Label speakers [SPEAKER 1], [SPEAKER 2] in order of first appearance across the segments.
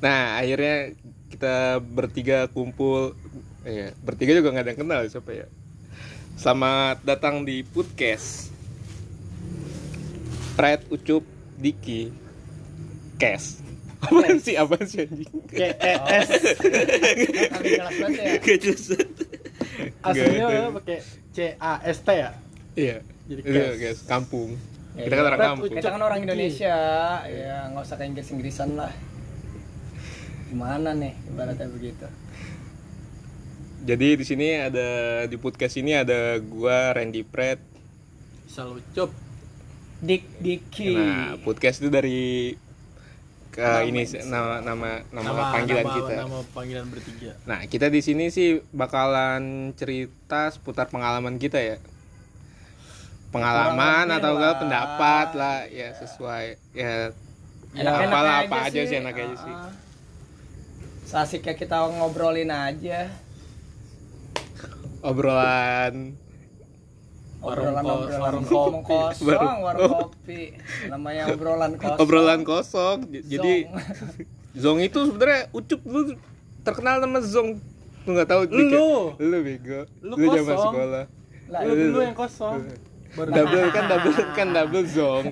[SPEAKER 1] Nah akhirnya kita bertiga kumpul, ya bertiga juga nggak ada yang kenal siapa ya. Selamat datang di podcast Pride Ucup Diki Kes. Apaan sih? Apaan sih anjing? Oh.
[SPEAKER 2] KES
[SPEAKER 1] Gitu.
[SPEAKER 2] Kali jelas banget ya
[SPEAKER 1] Gak jelas.
[SPEAKER 2] Aslinya
[SPEAKER 1] gitu. Nggak ada.
[SPEAKER 2] lo pakai C-A-S-T ya
[SPEAKER 1] Iya.
[SPEAKER 2] Jadi
[SPEAKER 1] Iya,
[SPEAKER 2] kes.
[SPEAKER 1] guys, kampung.
[SPEAKER 3] Ya,
[SPEAKER 1] kita kan
[SPEAKER 3] iya.
[SPEAKER 1] orang
[SPEAKER 2] Pride
[SPEAKER 1] kampung.
[SPEAKER 2] Ucup.
[SPEAKER 3] Kita kan orang Indonesia, ya nggak usah ke Inggris-Inggrisan lah. Gimana nih ibaratnya begitu?
[SPEAKER 1] Jadi di sini ada di podcast ini ada gua Randy Pratt.
[SPEAKER 2] Salucup
[SPEAKER 3] Dik Diki.
[SPEAKER 1] Nah, podcast itu dari ke
[SPEAKER 3] Nama
[SPEAKER 1] ini
[SPEAKER 3] ini.
[SPEAKER 1] nama nama nama, panggilan
[SPEAKER 2] nama-
[SPEAKER 1] kita.
[SPEAKER 2] Nama panggilan bertiga
[SPEAKER 1] Nah, kita di sini sih bakalan cerita seputar pengalaman kita ya. Pengalaman ya
[SPEAKER 3] Pengalaman
[SPEAKER 1] atau enggak
[SPEAKER 3] lah.
[SPEAKER 1] pendapat lah ya sesuai ya
[SPEAKER 3] Enak-enaknya
[SPEAKER 1] apalah, apa aja sih, enak aja sih.
[SPEAKER 3] ah. Sasiknya kita ngobrolin aja.
[SPEAKER 1] obrolan
[SPEAKER 2] Warung
[SPEAKER 3] Obrolan
[SPEAKER 2] kos-
[SPEAKER 3] obrolan
[SPEAKER 2] warung
[SPEAKER 3] ngomong
[SPEAKER 2] kopi.
[SPEAKER 1] Warung
[SPEAKER 3] kosong, warung kopi. Namanya obrolan kosong.
[SPEAKER 1] obrolan kosong. J-
[SPEAKER 3] Zong.
[SPEAKER 1] Jadi Zong itu sebenarnya ucup lu terkenal sama Zong. Lu nggak tahu Dik, ya?
[SPEAKER 2] Lu.
[SPEAKER 1] Lu bego.
[SPEAKER 2] Lu
[SPEAKER 1] zaman
[SPEAKER 2] kosong.
[SPEAKER 1] sekolah.
[SPEAKER 3] Lah,
[SPEAKER 2] Lu dulu yang kosong Baru
[SPEAKER 1] double kan double kan double Zong.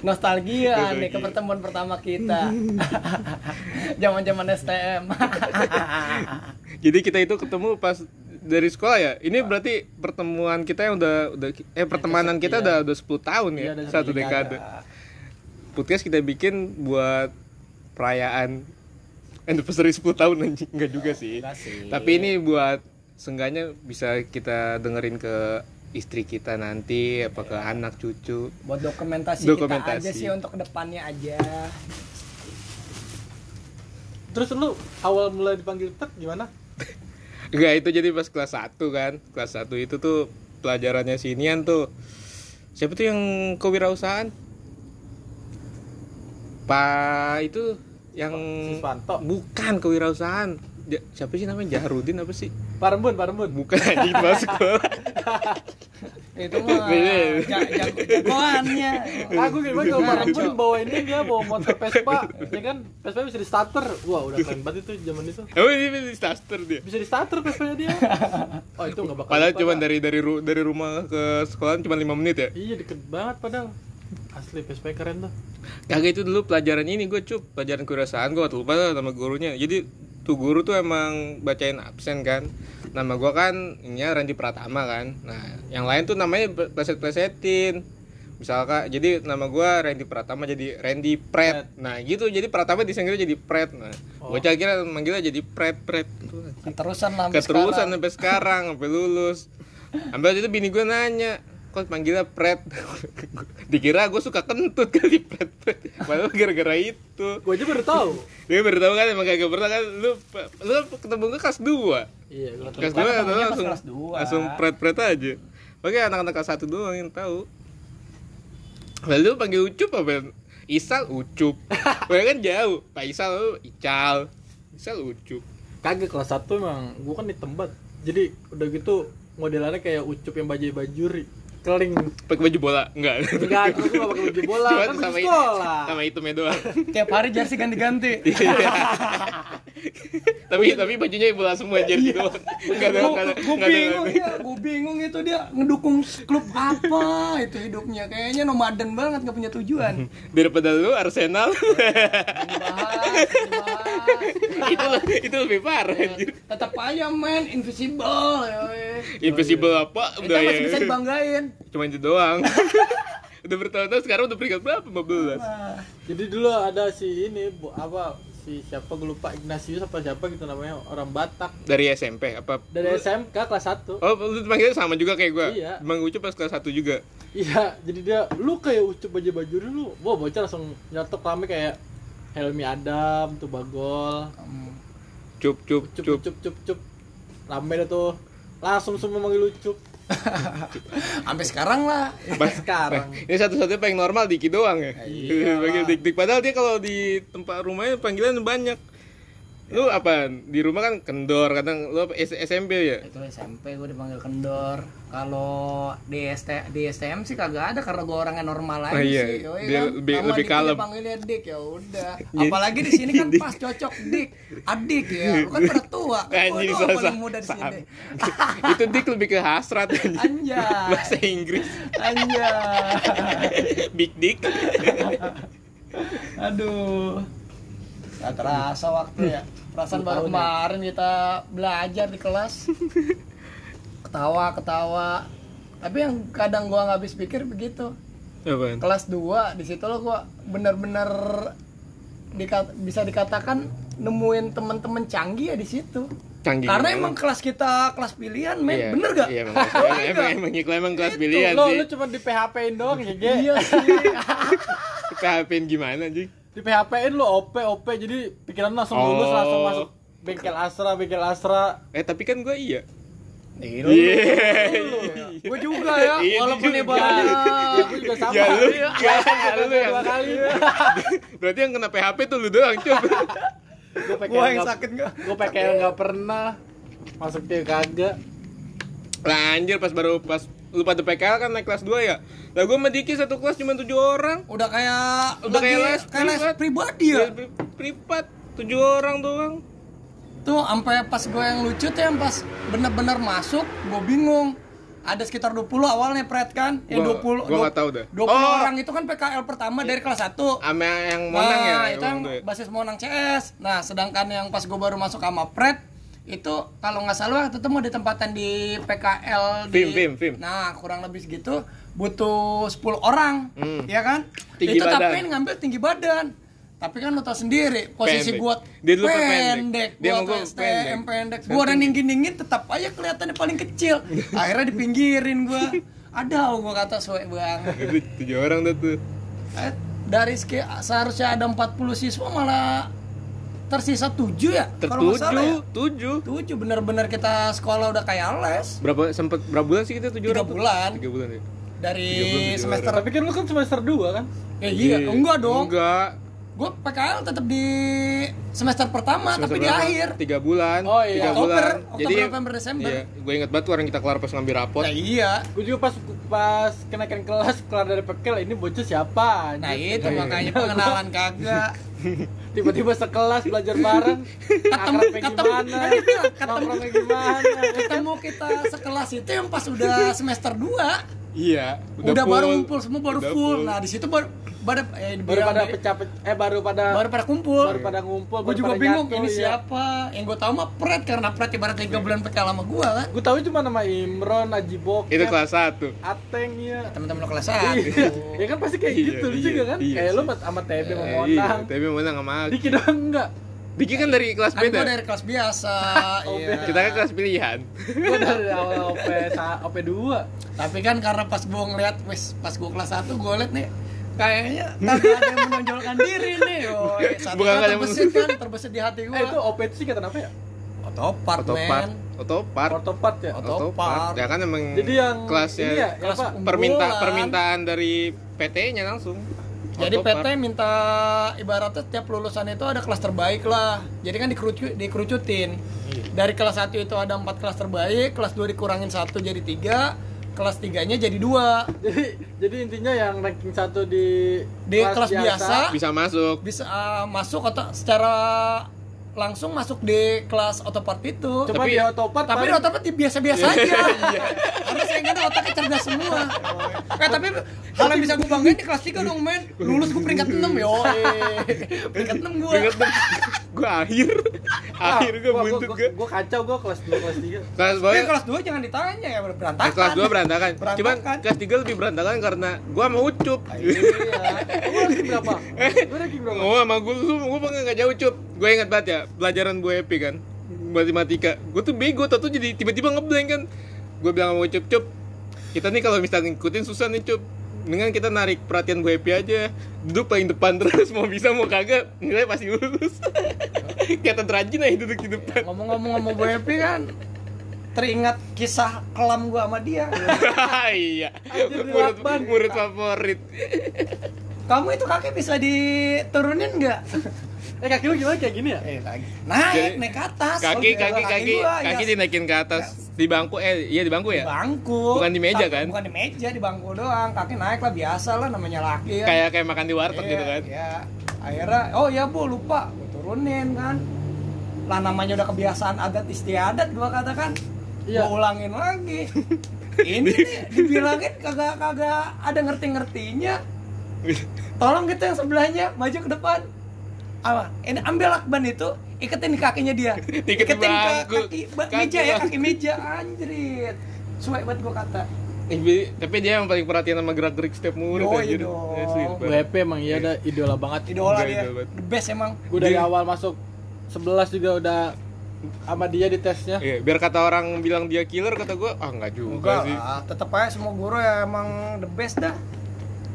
[SPEAKER 3] nostalgia nih ke pertemuan pertama kita. Zaman-zaman STM.
[SPEAKER 1] Jadi kita itu ketemu pas dari sekolah ya. Ini berarti pertemuan kita yang udah udah eh pertemanan kita udah udah 10 tahun ya.
[SPEAKER 2] Iya, udah
[SPEAKER 1] satu
[SPEAKER 2] sepuluh
[SPEAKER 1] dekade. Podcast kita bikin buat perayaan anniversary 10 tahun anjing enggak juga sih.
[SPEAKER 2] Enggak sih.
[SPEAKER 1] Tapi ini buat seenggaknya bisa kita dengerin ke istri kita nanti apa ke anak cucu.
[SPEAKER 3] buat dokumentasi,
[SPEAKER 1] Dokumentasi.
[SPEAKER 3] kita aja sih untuk kedepannya aja
[SPEAKER 2] Terus lu awal mulai dipanggil Tet gimana?
[SPEAKER 1] Enggak itu jadi pas kelas 1 kan. Kelas 1 itu tuh pelajarannya sinian tuh. Siapa tuh yang kewirausahaan? Pak itu yang
[SPEAKER 2] Siswanto.
[SPEAKER 1] bukan kewirausahaan. Ja- siapa sih namanya Jaharudin apa sih?
[SPEAKER 2] Parembun, Parembun
[SPEAKER 1] Bukan anjing masuk.
[SPEAKER 3] itu mah
[SPEAKER 1] Bener.
[SPEAKER 3] ja- jago- jagoannya
[SPEAKER 2] Aku gimana kalau
[SPEAKER 3] Nah,
[SPEAKER 2] Parembun
[SPEAKER 3] Cok.
[SPEAKER 2] bawa ini dia bawa motor Vespa Ya kan, Vespa bisa di starter Wah udah keren banget itu zaman itu
[SPEAKER 1] Oh ini disaster dia.
[SPEAKER 2] bisa di starter Vespanya dia oh itu nggak bakal
[SPEAKER 1] Padahal
[SPEAKER 2] lupa,
[SPEAKER 1] cuma
[SPEAKER 2] Pak.
[SPEAKER 1] dari dari ru- dari rumah ke sekolah cuma 5 menit ya.
[SPEAKER 2] iya deket banget padahal asli Vespa keren tuh
[SPEAKER 1] Kagak itu dulu pelajaran ini gue cup pelajaran kewirausahaan gue lupa tuh nama gurunya. Jadi tuh guru tuh emang bacain absen kan. Nama gue kan ininya Randy Pratama kan. Nah yang lain tuh namanya ple- pleset-plesetin. Misalkan jadi nama gue Randy Pratama jadi Randy Pret. Nah gitu jadi Pratama disingkirnya jadi Pret. Nah
[SPEAKER 2] Oh.
[SPEAKER 1] gue kira manggilnya jadi Pret Pret. Tuh,
[SPEAKER 3] keterusan lah sampai
[SPEAKER 1] Keterusan
[SPEAKER 3] sekarang.
[SPEAKER 1] sampai sekarang sampai lulus. Sampai waktu itu bini gue nanya, kok panggilnya Pret? Dikira gue suka kentut kali Pret Pret. Padahal gara-gara itu.
[SPEAKER 2] gue aja baru tahu
[SPEAKER 1] Dia baru tahu kan emang kagak pernah kan lu lu ketemu gue kelas 2.
[SPEAKER 2] iya gua tahu.
[SPEAKER 1] Kelas 2 kan
[SPEAKER 3] Kan ketemunya pas
[SPEAKER 1] langsung
[SPEAKER 3] kelas dua.
[SPEAKER 1] langsung Pret Pret aja. Oke anak-anak kelas 1 doang yang tahu. Lalu panggil Ucup apa? Isal Ucup. Padahal kan jauh. Pak Isal lu Ical. Isal Ucup.
[SPEAKER 2] kagak kelas satu emang gue kan di tempat jadi udah gitu modelannya kayak ucup yang bajai bajuri keling
[SPEAKER 1] Pakai baju bola? Enggak.
[SPEAKER 2] enggak terus gue gak pakai baju bola
[SPEAKER 1] Cuman
[SPEAKER 2] kan
[SPEAKER 1] sama
[SPEAKER 2] sama sekolah
[SPEAKER 1] sama hitamnya doang.
[SPEAKER 3] tiap hari jersey ganti-ganti
[SPEAKER 1] tapi tapi bajunya bola semua jersey
[SPEAKER 2] Iya.
[SPEAKER 1] doang. Enggak ada enggak ada.
[SPEAKER 3] gue
[SPEAKER 1] gitu. nggak ada-
[SPEAKER 3] bingung ya gue bingung itu dia ngedukung klub apa itu hidupnya kayaknya nomaden banget nggak punya tujuan
[SPEAKER 1] Daripada lu Arsenal
[SPEAKER 3] dibahas dibahas
[SPEAKER 1] itu itu lebih parah
[SPEAKER 2] Iya.
[SPEAKER 1] anjir.
[SPEAKER 3] tetap aja main invisible ya weh.
[SPEAKER 1] Invisible apa
[SPEAKER 3] kita
[SPEAKER 1] udah ya.
[SPEAKER 3] masih bisa dibanggain
[SPEAKER 1] Cuma itu doang. udah bertahun-tahun sekarang udah peringkat berapa? 15.
[SPEAKER 3] Wah.
[SPEAKER 2] jadi dulu ada si ini bu apa si siapa gue lupa Ignatius apa siapa gitu namanya orang Batak
[SPEAKER 1] Dari SMP apa?
[SPEAKER 2] dari SMK kelas 1
[SPEAKER 1] Oh, lu dipanggilnya sama juga kayak gua.
[SPEAKER 2] Iya.
[SPEAKER 1] Bang Ucu pas kelas 1 juga.
[SPEAKER 2] Iya, jadi dia lu kayak ucup aja baju lu. Wah, bocah langsung nyetok rame kayak Helmi Adam tuh bagol.
[SPEAKER 3] hmm.
[SPEAKER 1] Cup cup
[SPEAKER 2] Ucup
[SPEAKER 1] cup.
[SPEAKER 2] ucup cup cup. Rame dah tuh. Langsung semua manggil ucup.
[SPEAKER 3] sampai sekarang lah
[SPEAKER 2] Sekarang.
[SPEAKER 1] Ini satu-satunya paling normal Diki
[SPEAKER 3] Ah,
[SPEAKER 1] doang ya. Panggil Dik Dik. Padahal dia kalau di tempat rumahnya panggilan banyak. Lu
[SPEAKER 3] Iya.
[SPEAKER 1] apa? Di rumah kan kendor, kadang lu apa, S- SMP ya?
[SPEAKER 3] itu SMP gue dipanggil kendor kalau di ST di STM sih kagak ada karena gue orangnya normal aja
[SPEAKER 1] Oh, iya.
[SPEAKER 3] sih yoi kan?
[SPEAKER 1] Dia lebih-
[SPEAKER 3] Sama
[SPEAKER 1] lebih
[SPEAKER 3] Diki
[SPEAKER 1] kalem.
[SPEAKER 3] dipanggilnya dik ya udah apalagi di sini kan pas cocok dik adik ya lu kan pada tua kan
[SPEAKER 1] Anjing,
[SPEAKER 3] gue
[SPEAKER 1] salah-
[SPEAKER 3] paling muda di
[SPEAKER 1] salah.
[SPEAKER 3] sini
[SPEAKER 1] Itu dik lebih ke hasrat anjing. Bahasa
[SPEAKER 3] anjay
[SPEAKER 1] Inggris.
[SPEAKER 3] anjay
[SPEAKER 1] Big dick.
[SPEAKER 3] aduh Gak terasa waktu ya Perasaan baru kemarin kita belajar di kelas Ketawa-ketawa Tapi yang kadang gua nggak habis pikir begitu
[SPEAKER 1] Apaan?
[SPEAKER 3] Kelas 2 di situ lo gua bener-bener dika- bisa dikatakan nemuin temen-temen canggih ya di situ.
[SPEAKER 1] Canggih.
[SPEAKER 3] Karena
[SPEAKER 1] gimana?
[SPEAKER 3] emang kelas kita kelas pilihan, men.
[SPEAKER 1] Iya.
[SPEAKER 3] Bener gak? Gitu
[SPEAKER 1] Iya, emang kelas pilihan. emang emang, emang, emang kelas pilihan
[SPEAKER 2] lo
[SPEAKER 1] sih.
[SPEAKER 2] lu cuma di PHP-in doang ya Ge?
[SPEAKER 3] Iya sih.
[SPEAKER 1] PHP-in gimana, anjing?
[SPEAKER 2] di PHP-in lu OP OP jadi pikiran lu langsung lulus
[SPEAKER 1] Oh.
[SPEAKER 2] langsung masuk bengkel asra bengkel asra
[SPEAKER 1] Eh, tapi kan gua iya.
[SPEAKER 3] Iya.
[SPEAKER 1] Iya.
[SPEAKER 3] Gue juga ya,
[SPEAKER 1] Iya,
[SPEAKER 3] walaupun
[SPEAKER 1] juga.
[SPEAKER 3] ibaratnya
[SPEAKER 2] Gua juga sama
[SPEAKER 1] Ya lu,
[SPEAKER 2] Iya.
[SPEAKER 1] ya lu
[SPEAKER 2] Dua
[SPEAKER 1] yang-
[SPEAKER 2] kali
[SPEAKER 1] Berarti yang kena PHP tuh lu doang, coba.
[SPEAKER 2] gue
[SPEAKER 3] Gua yang sakit gak?
[SPEAKER 2] gue PKL nggak pernah masuk dia kagak
[SPEAKER 1] Lah anjir pas baru pas lu pada PKL kan naik kelas 2 ya. Lah gua sama Diki satu kelas cuma 7 orang.
[SPEAKER 3] udah kayak
[SPEAKER 1] Udah
[SPEAKER 3] lagi
[SPEAKER 1] kayak kan? Iya. les
[SPEAKER 3] kayak les
[SPEAKER 1] privat.
[SPEAKER 3] pribadi ya
[SPEAKER 1] Kelas pri- Privat 7 orang doang.
[SPEAKER 3] tuh sampai pas gue yang lucu tuh yang pas bener-bener masuk gue bingung ada sekitar 20 awalnya pret kan yang
[SPEAKER 1] Gua- gua
[SPEAKER 3] 20 du-
[SPEAKER 1] nggak tahu dah. Oh.
[SPEAKER 3] 20
[SPEAKER 1] Iya. Ah,
[SPEAKER 3] orang itu kan PKL pertama dari kelas 1
[SPEAKER 1] Sama yang Monang ya.
[SPEAKER 3] nah, itu
[SPEAKER 1] yang
[SPEAKER 3] yang
[SPEAKER 1] gua ya.
[SPEAKER 3] basis Monang CS nah sedangkan yang pas gue baru masuk sama Pret itu kalau nggak salah waktu itu mau ditempatan di PKL di
[SPEAKER 1] Fim, Fim, Fim.
[SPEAKER 3] nah kurang lebih segitu butuh 10 orang
[SPEAKER 1] Hmm.
[SPEAKER 3] ya kan
[SPEAKER 1] Tinggi
[SPEAKER 3] itu tapi
[SPEAKER 1] badan.
[SPEAKER 3] ngambil tinggi badan tapi kan lo tau sendiri posisi
[SPEAKER 1] Pendek.
[SPEAKER 3] gua
[SPEAKER 1] Dia dulu pendek.
[SPEAKER 3] pendek,
[SPEAKER 1] Dia
[SPEAKER 3] gua
[SPEAKER 1] sama gua
[SPEAKER 3] tuh STM
[SPEAKER 1] pendek.
[SPEAKER 3] pendek gua udah dingin dingin tetap aja kelihatannya paling kecil akhirnya dipinggirin gua ada gua kata suwe bang
[SPEAKER 1] Itu 7 orang dah tuh.
[SPEAKER 3] Eh, dari seki- seharusnya ada 40 siswa malah tersisa 7 ya kalau nggak salah ya
[SPEAKER 1] Tertujuh, tujuh.
[SPEAKER 3] 7 bener-bener kita sekolah udah kayak les
[SPEAKER 1] Berapa sempet berapa bulan sih kita 7
[SPEAKER 3] Tiga
[SPEAKER 1] orang? tuh?
[SPEAKER 3] bulan.
[SPEAKER 1] Tiga bulan ya. Tiga bulan,
[SPEAKER 3] dari
[SPEAKER 1] tujuh
[SPEAKER 3] semester
[SPEAKER 2] tapi kan lu kan semester 2 kan
[SPEAKER 3] eh, iya enggak dong
[SPEAKER 1] Enggak.
[SPEAKER 3] gue PKL tetap di semester pertama tapi di
[SPEAKER 1] berapa?
[SPEAKER 3] akhir
[SPEAKER 1] Tiga bulan.
[SPEAKER 2] Oh, iya.
[SPEAKER 1] Tiga
[SPEAKER 3] Oktober,
[SPEAKER 1] bulan.
[SPEAKER 3] Oktober, November, Desember.
[SPEAKER 1] Iya, gue ingat banget tuh orang kita kelar pas ngambil rapot.
[SPEAKER 3] nah iya
[SPEAKER 2] gue juga pas pas kenaikan kelas kelar dari PKL ini bocah siapa
[SPEAKER 3] nah
[SPEAKER 2] anjing?
[SPEAKER 3] itu makanya pengenalan kagak
[SPEAKER 2] tiba-tiba sekelas belajar bareng
[SPEAKER 3] Ketemu-
[SPEAKER 2] akrabnya
[SPEAKER 3] ketemu-
[SPEAKER 2] gimana
[SPEAKER 3] ketemu.
[SPEAKER 2] nongkrongnya gimana
[SPEAKER 3] ketemu kita sekelas itu yang pas udah semester 2
[SPEAKER 1] Iya.
[SPEAKER 3] udah, baru ngumpul semua baru
[SPEAKER 1] Udah
[SPEAKER 3] full. nah di situ baru baru
[SPEAKER 1] Iya,
[SPEAKER 2] baru
[SPEAKER 3] eh, bilang-
[SPEAKER 2] pada pecah eh baru pada
[SPEAKER 3] baru pada kumpul
[SPEAKER 2] baru pada ngumpul
[SPEAKER 3] gue
[SPEAKER 2] baru
[SPEAKER 3] juga
[SPEAKER 2] pada
[SPEAKER 3] bingung
[SPEAKER 2] nyatu,
[SPEAKER 3] ini
[SPEAKER 2] iya.
[SPEAKER 3] siapa yang gue tahu mah Pret karena Pret ibarat tiga bulan PKL sama gue kan
[SPEAKER 2] Gue tahu cuma nama Imron, Aji Bokep,
[SPEAKER 3] ya.
[SPEAKER 1] Itu kelas 1.
[SPEAKER 2] Ateng ya.
[SPEAKER 3] teman-teman lo kelas
[SPEAKER 2] Iya.
[SPEAKER 3] satu
[SPEAKER 2] ya kan pasti kayak
[SPEAKER 1] Iya,
[SPEAKER 2] gitu lu
[SPEAKER 1] iya,
[SPEAKER 2] juga kan.
[SPEAKER 1] iya
[SPEAKER 2] kayak
[SPEAKER 1] sih.
[SPEAKER 2] lu sama- sama TB sama
[SPEAKER 1] Eh, iya,
[SPEAKER 2] Monang.
[SPEAKER 1] tapi menang sama aku.
[SPEAKER 2] Diki doang enggak.
[SPEAKER 1] Diki kan dari kelas
[SPEAKER 3] kan gue
[SPEAKER 1] beda.
[SPEAKER 3] dari kelas biasa
[SPEAKER 2] Oh,
[SPEAKER 3] iya.
[SPEAKER 1] Kita kan kelas pilihan.
[SPEAKER 2] Gue dari awal OP sa- OP 2.
[SPEAKER 3] tapi kan karena pas gue ngeliat wes pas gue kelas satu gue liat nih kayaknya kagak ada yang menonjolkan diri nih oh,
[SPEAKER 1] Bukan
[SPEAKER 3] Bukan
[SPEAKER 1] kagak ada yang
[SPEAKER 3] terbesit kan terbesit di hati gue
[SPEAKER 2] Eh itu OP itu sih kata apa ya?
[SPEAKER 3] otopart
[SPEAKER 1] Otopart,
[SPEAKER 3] men
[SPEAKER 1] otopart,
[SPEAKER 2] Ortopart ya.
[SPEAKER 3] Otopart.
[SPEAKER 1] otopart. Ya kan emang
[SPEAKER 2] Jadi yang
[SPEAKER 1] kelasnya
[SPEAKER 2] ini ya, ya
[SPEAKER 3] kelas
[SPEAKER 2] apa?
[SPEAKER 3] unggulan.
[SPEAKER 1] perminta permintaan dari PT-nya langsung.
[SPEAKER 3] Jadi PT
[SPEAKER 1] Otopart.
[SPEAKER 3] minta ibaratnya setiap lulusan itu ada kelas terbaik lah. Jadi kan dikerucu, dikerucutin.
[SPEAKER 2] Iya.
[SPEAKER 3] Dari kelas 1 itu ada empat kelas terbaik, kelas 2 dikurangin satu jadi tiga, kelas tiganya jadi dua.
[SPEAKER 2] Jadi jadi intinya yang ranking 1 di
[SPEAKER 3] Di kelas biasa.
[SPEAKER 1] bisa masuk.
[SPEAKER 3] Bisa ah, masuk atau secara langsung masuk di kelas otopart itu.
[SPEAKER 2] Cuma
[SPEAKER 1] Tapi-
[SPEAKER 2] di otopart paling-
[SPEAKER 3] tapi di
[SPEAKER 2] Iya.
[SPEAKER 3] otopart di- biasa-biasa aja. Karena saya ingat otaknya cerdas
[SPEAKER 2] Oh,
[SPEAKER 3] semua.
[SPEAKER 2] iya.
[SPEAKER 3] Eh tapi hal yang bisa gue banggain di kelas 3 dong men. Lulus gue peringkat
[SPEAKER 2] Iya.
[SPEAKER 3] 6 yo. Peringkat 6 gue.
[SPEAKER 1] Ingat tuh, gua akhir.
[SPEAKER 2] Ah,
[SPEAKER 1] akhir gua
[SPEAKER 2] gua-
[SPEAKER 1] buntut
[SPEAKER 2] gua-
[SPEAKER 1] gua.
[SPEAKER 2] Gua kacau gua kelas 2 kelas 3.
[SPEAKER 1] Kelas
[SPEAKER 3] Tapi
[SPEAKER 1] bawah
[SPEAKER 3] kelas 2 jangan ditanya ya berantakan.
[SPEAKER 1] eh, kelas 2 berantakan.
[SPEAKER 3] Berantakan.
[SPEAKER 1] Cuman kelas 3 lebih berantakan karena gua mau ucup.
[SPEAKER 2] Ah, Iya. Lu ranking berapa? Lu ranking berapa?
[SPEAKER 1] Oh, sama gue lu gue pengen nggak jauh cup. Gue ingat banget ya pelajaran Bu Epi kan matematika. Gue tuh bego, tau tuh jadi tiba-tiba ngeblank kan. Gue bilang sama cup cup, kita nih kalau misalnya ngikutin susah nih cup. Dengan kita narik perhatian Bu Epi aja, duduk paling depan terus mau bisa mau kagak nilai pasti lulus. Kelihatan rajin aja duduk di depan.
[SPEAKER 3] Ngomong-ngomong sama Bu Epi kan teringat kisah kelam gua sama dia.
[SPEAKER 1] iya.
[SPEAKER 2] Anjir,
[SPEAKER 1] Murid,
[SPEAKER 2] lakban.
[SPEAKER 1] murid favorit.
[SPEAKER 3] Kamu itu kakek bisa diturunin nggak?
[SPEAKER 2] Eh kaki lu gimana kayak gini ya?
[SPEAKER 3] Eh, lagi. Naik,
[SPEAKER 1] Jadi-
[SPEAKER 3] naik ke atas.
[SPEAKER 1] kaki
[SPEAKER 3] Oke,
[SPEAKER 1] kaki kaki
[SPEAKER 3] gua,
[SPEAKER 1] kaki
[SPEAKER 3] ya.
[SPEAKER 1] dinaikin ke atas di bangku eh iya di bangku
[SPEAKER 3] Di
[SPEAKER 1] ya
[SPEAKER 3] bangku.
[SPEAKER 1] Bukan di meja,
[SPEAKER 3] Kaki-
[SPEAKER 1] kan?
[SPEAKER 3] Bukan di meja, di bangku doang. Kaki naik lah biasa lah namanya laki ya.
[SPEAKER 1] kayak kayak makan di warteg
[SPEAKER 3] Iya,
[SPEAKER 1] gitu kan
[SPEAKER 3] Iya. Akhirnya, oh ya bu lupa, gua turunin kan. Lah namanya udah kebiasaan adat istiadat gua katakan.
[SPEAKER 2] Iya.
[SPEAKER 3] Gua ulangin lagi. Ini nih, dibilangin kagak-kagak ada ngerti-ngertinya. Tolong gitu yang sebelahnya maju ke depan. Apa? Ini ambil lakban itu, iketin di kakinya dia.
[SPEAKER 1] Iket bangku.
[SPEAKER 3] kaki, ba-
[SPEAKER 1] Kaki oh.
[SPEAKER 3] meja ya,
[SPEAKER 1] bangku.
[SPEAKER 3] kaki meja anjrit. Suwe banget gua kata.
[SPEAKER 1] Ih, Eh, bi- tapi dia yang paling perhatian sama gerak gerik setiap murid ya,
[SPEAKER 3] Yoi
[SPEAKER 1] anjir.
[SPEAKER 3] dong.
[SPEAKER 1] Asli, Bang.
[SPEAKER 2] WP emang iya ada idola banget.
[SPEAKER 3] Idola
[SPEAKER 1] Enggak,
[SPEAKER 3] dia.
[SPEAKER 1] idola banget.
[SPEAKER 3] The best emang.
[SPEAKER 2] Gue dari awal masuk 11 juga udah sama dia di tesnya.
[SPEAKER 1] Iya, biar kata orang bilang dia killer kata gua ah nggak
[SPEAKER 3] Enggak
[SPEAKER 1] juga sih
[SPEAKER 3] lah, tetep aja semua guru ya emang the best dah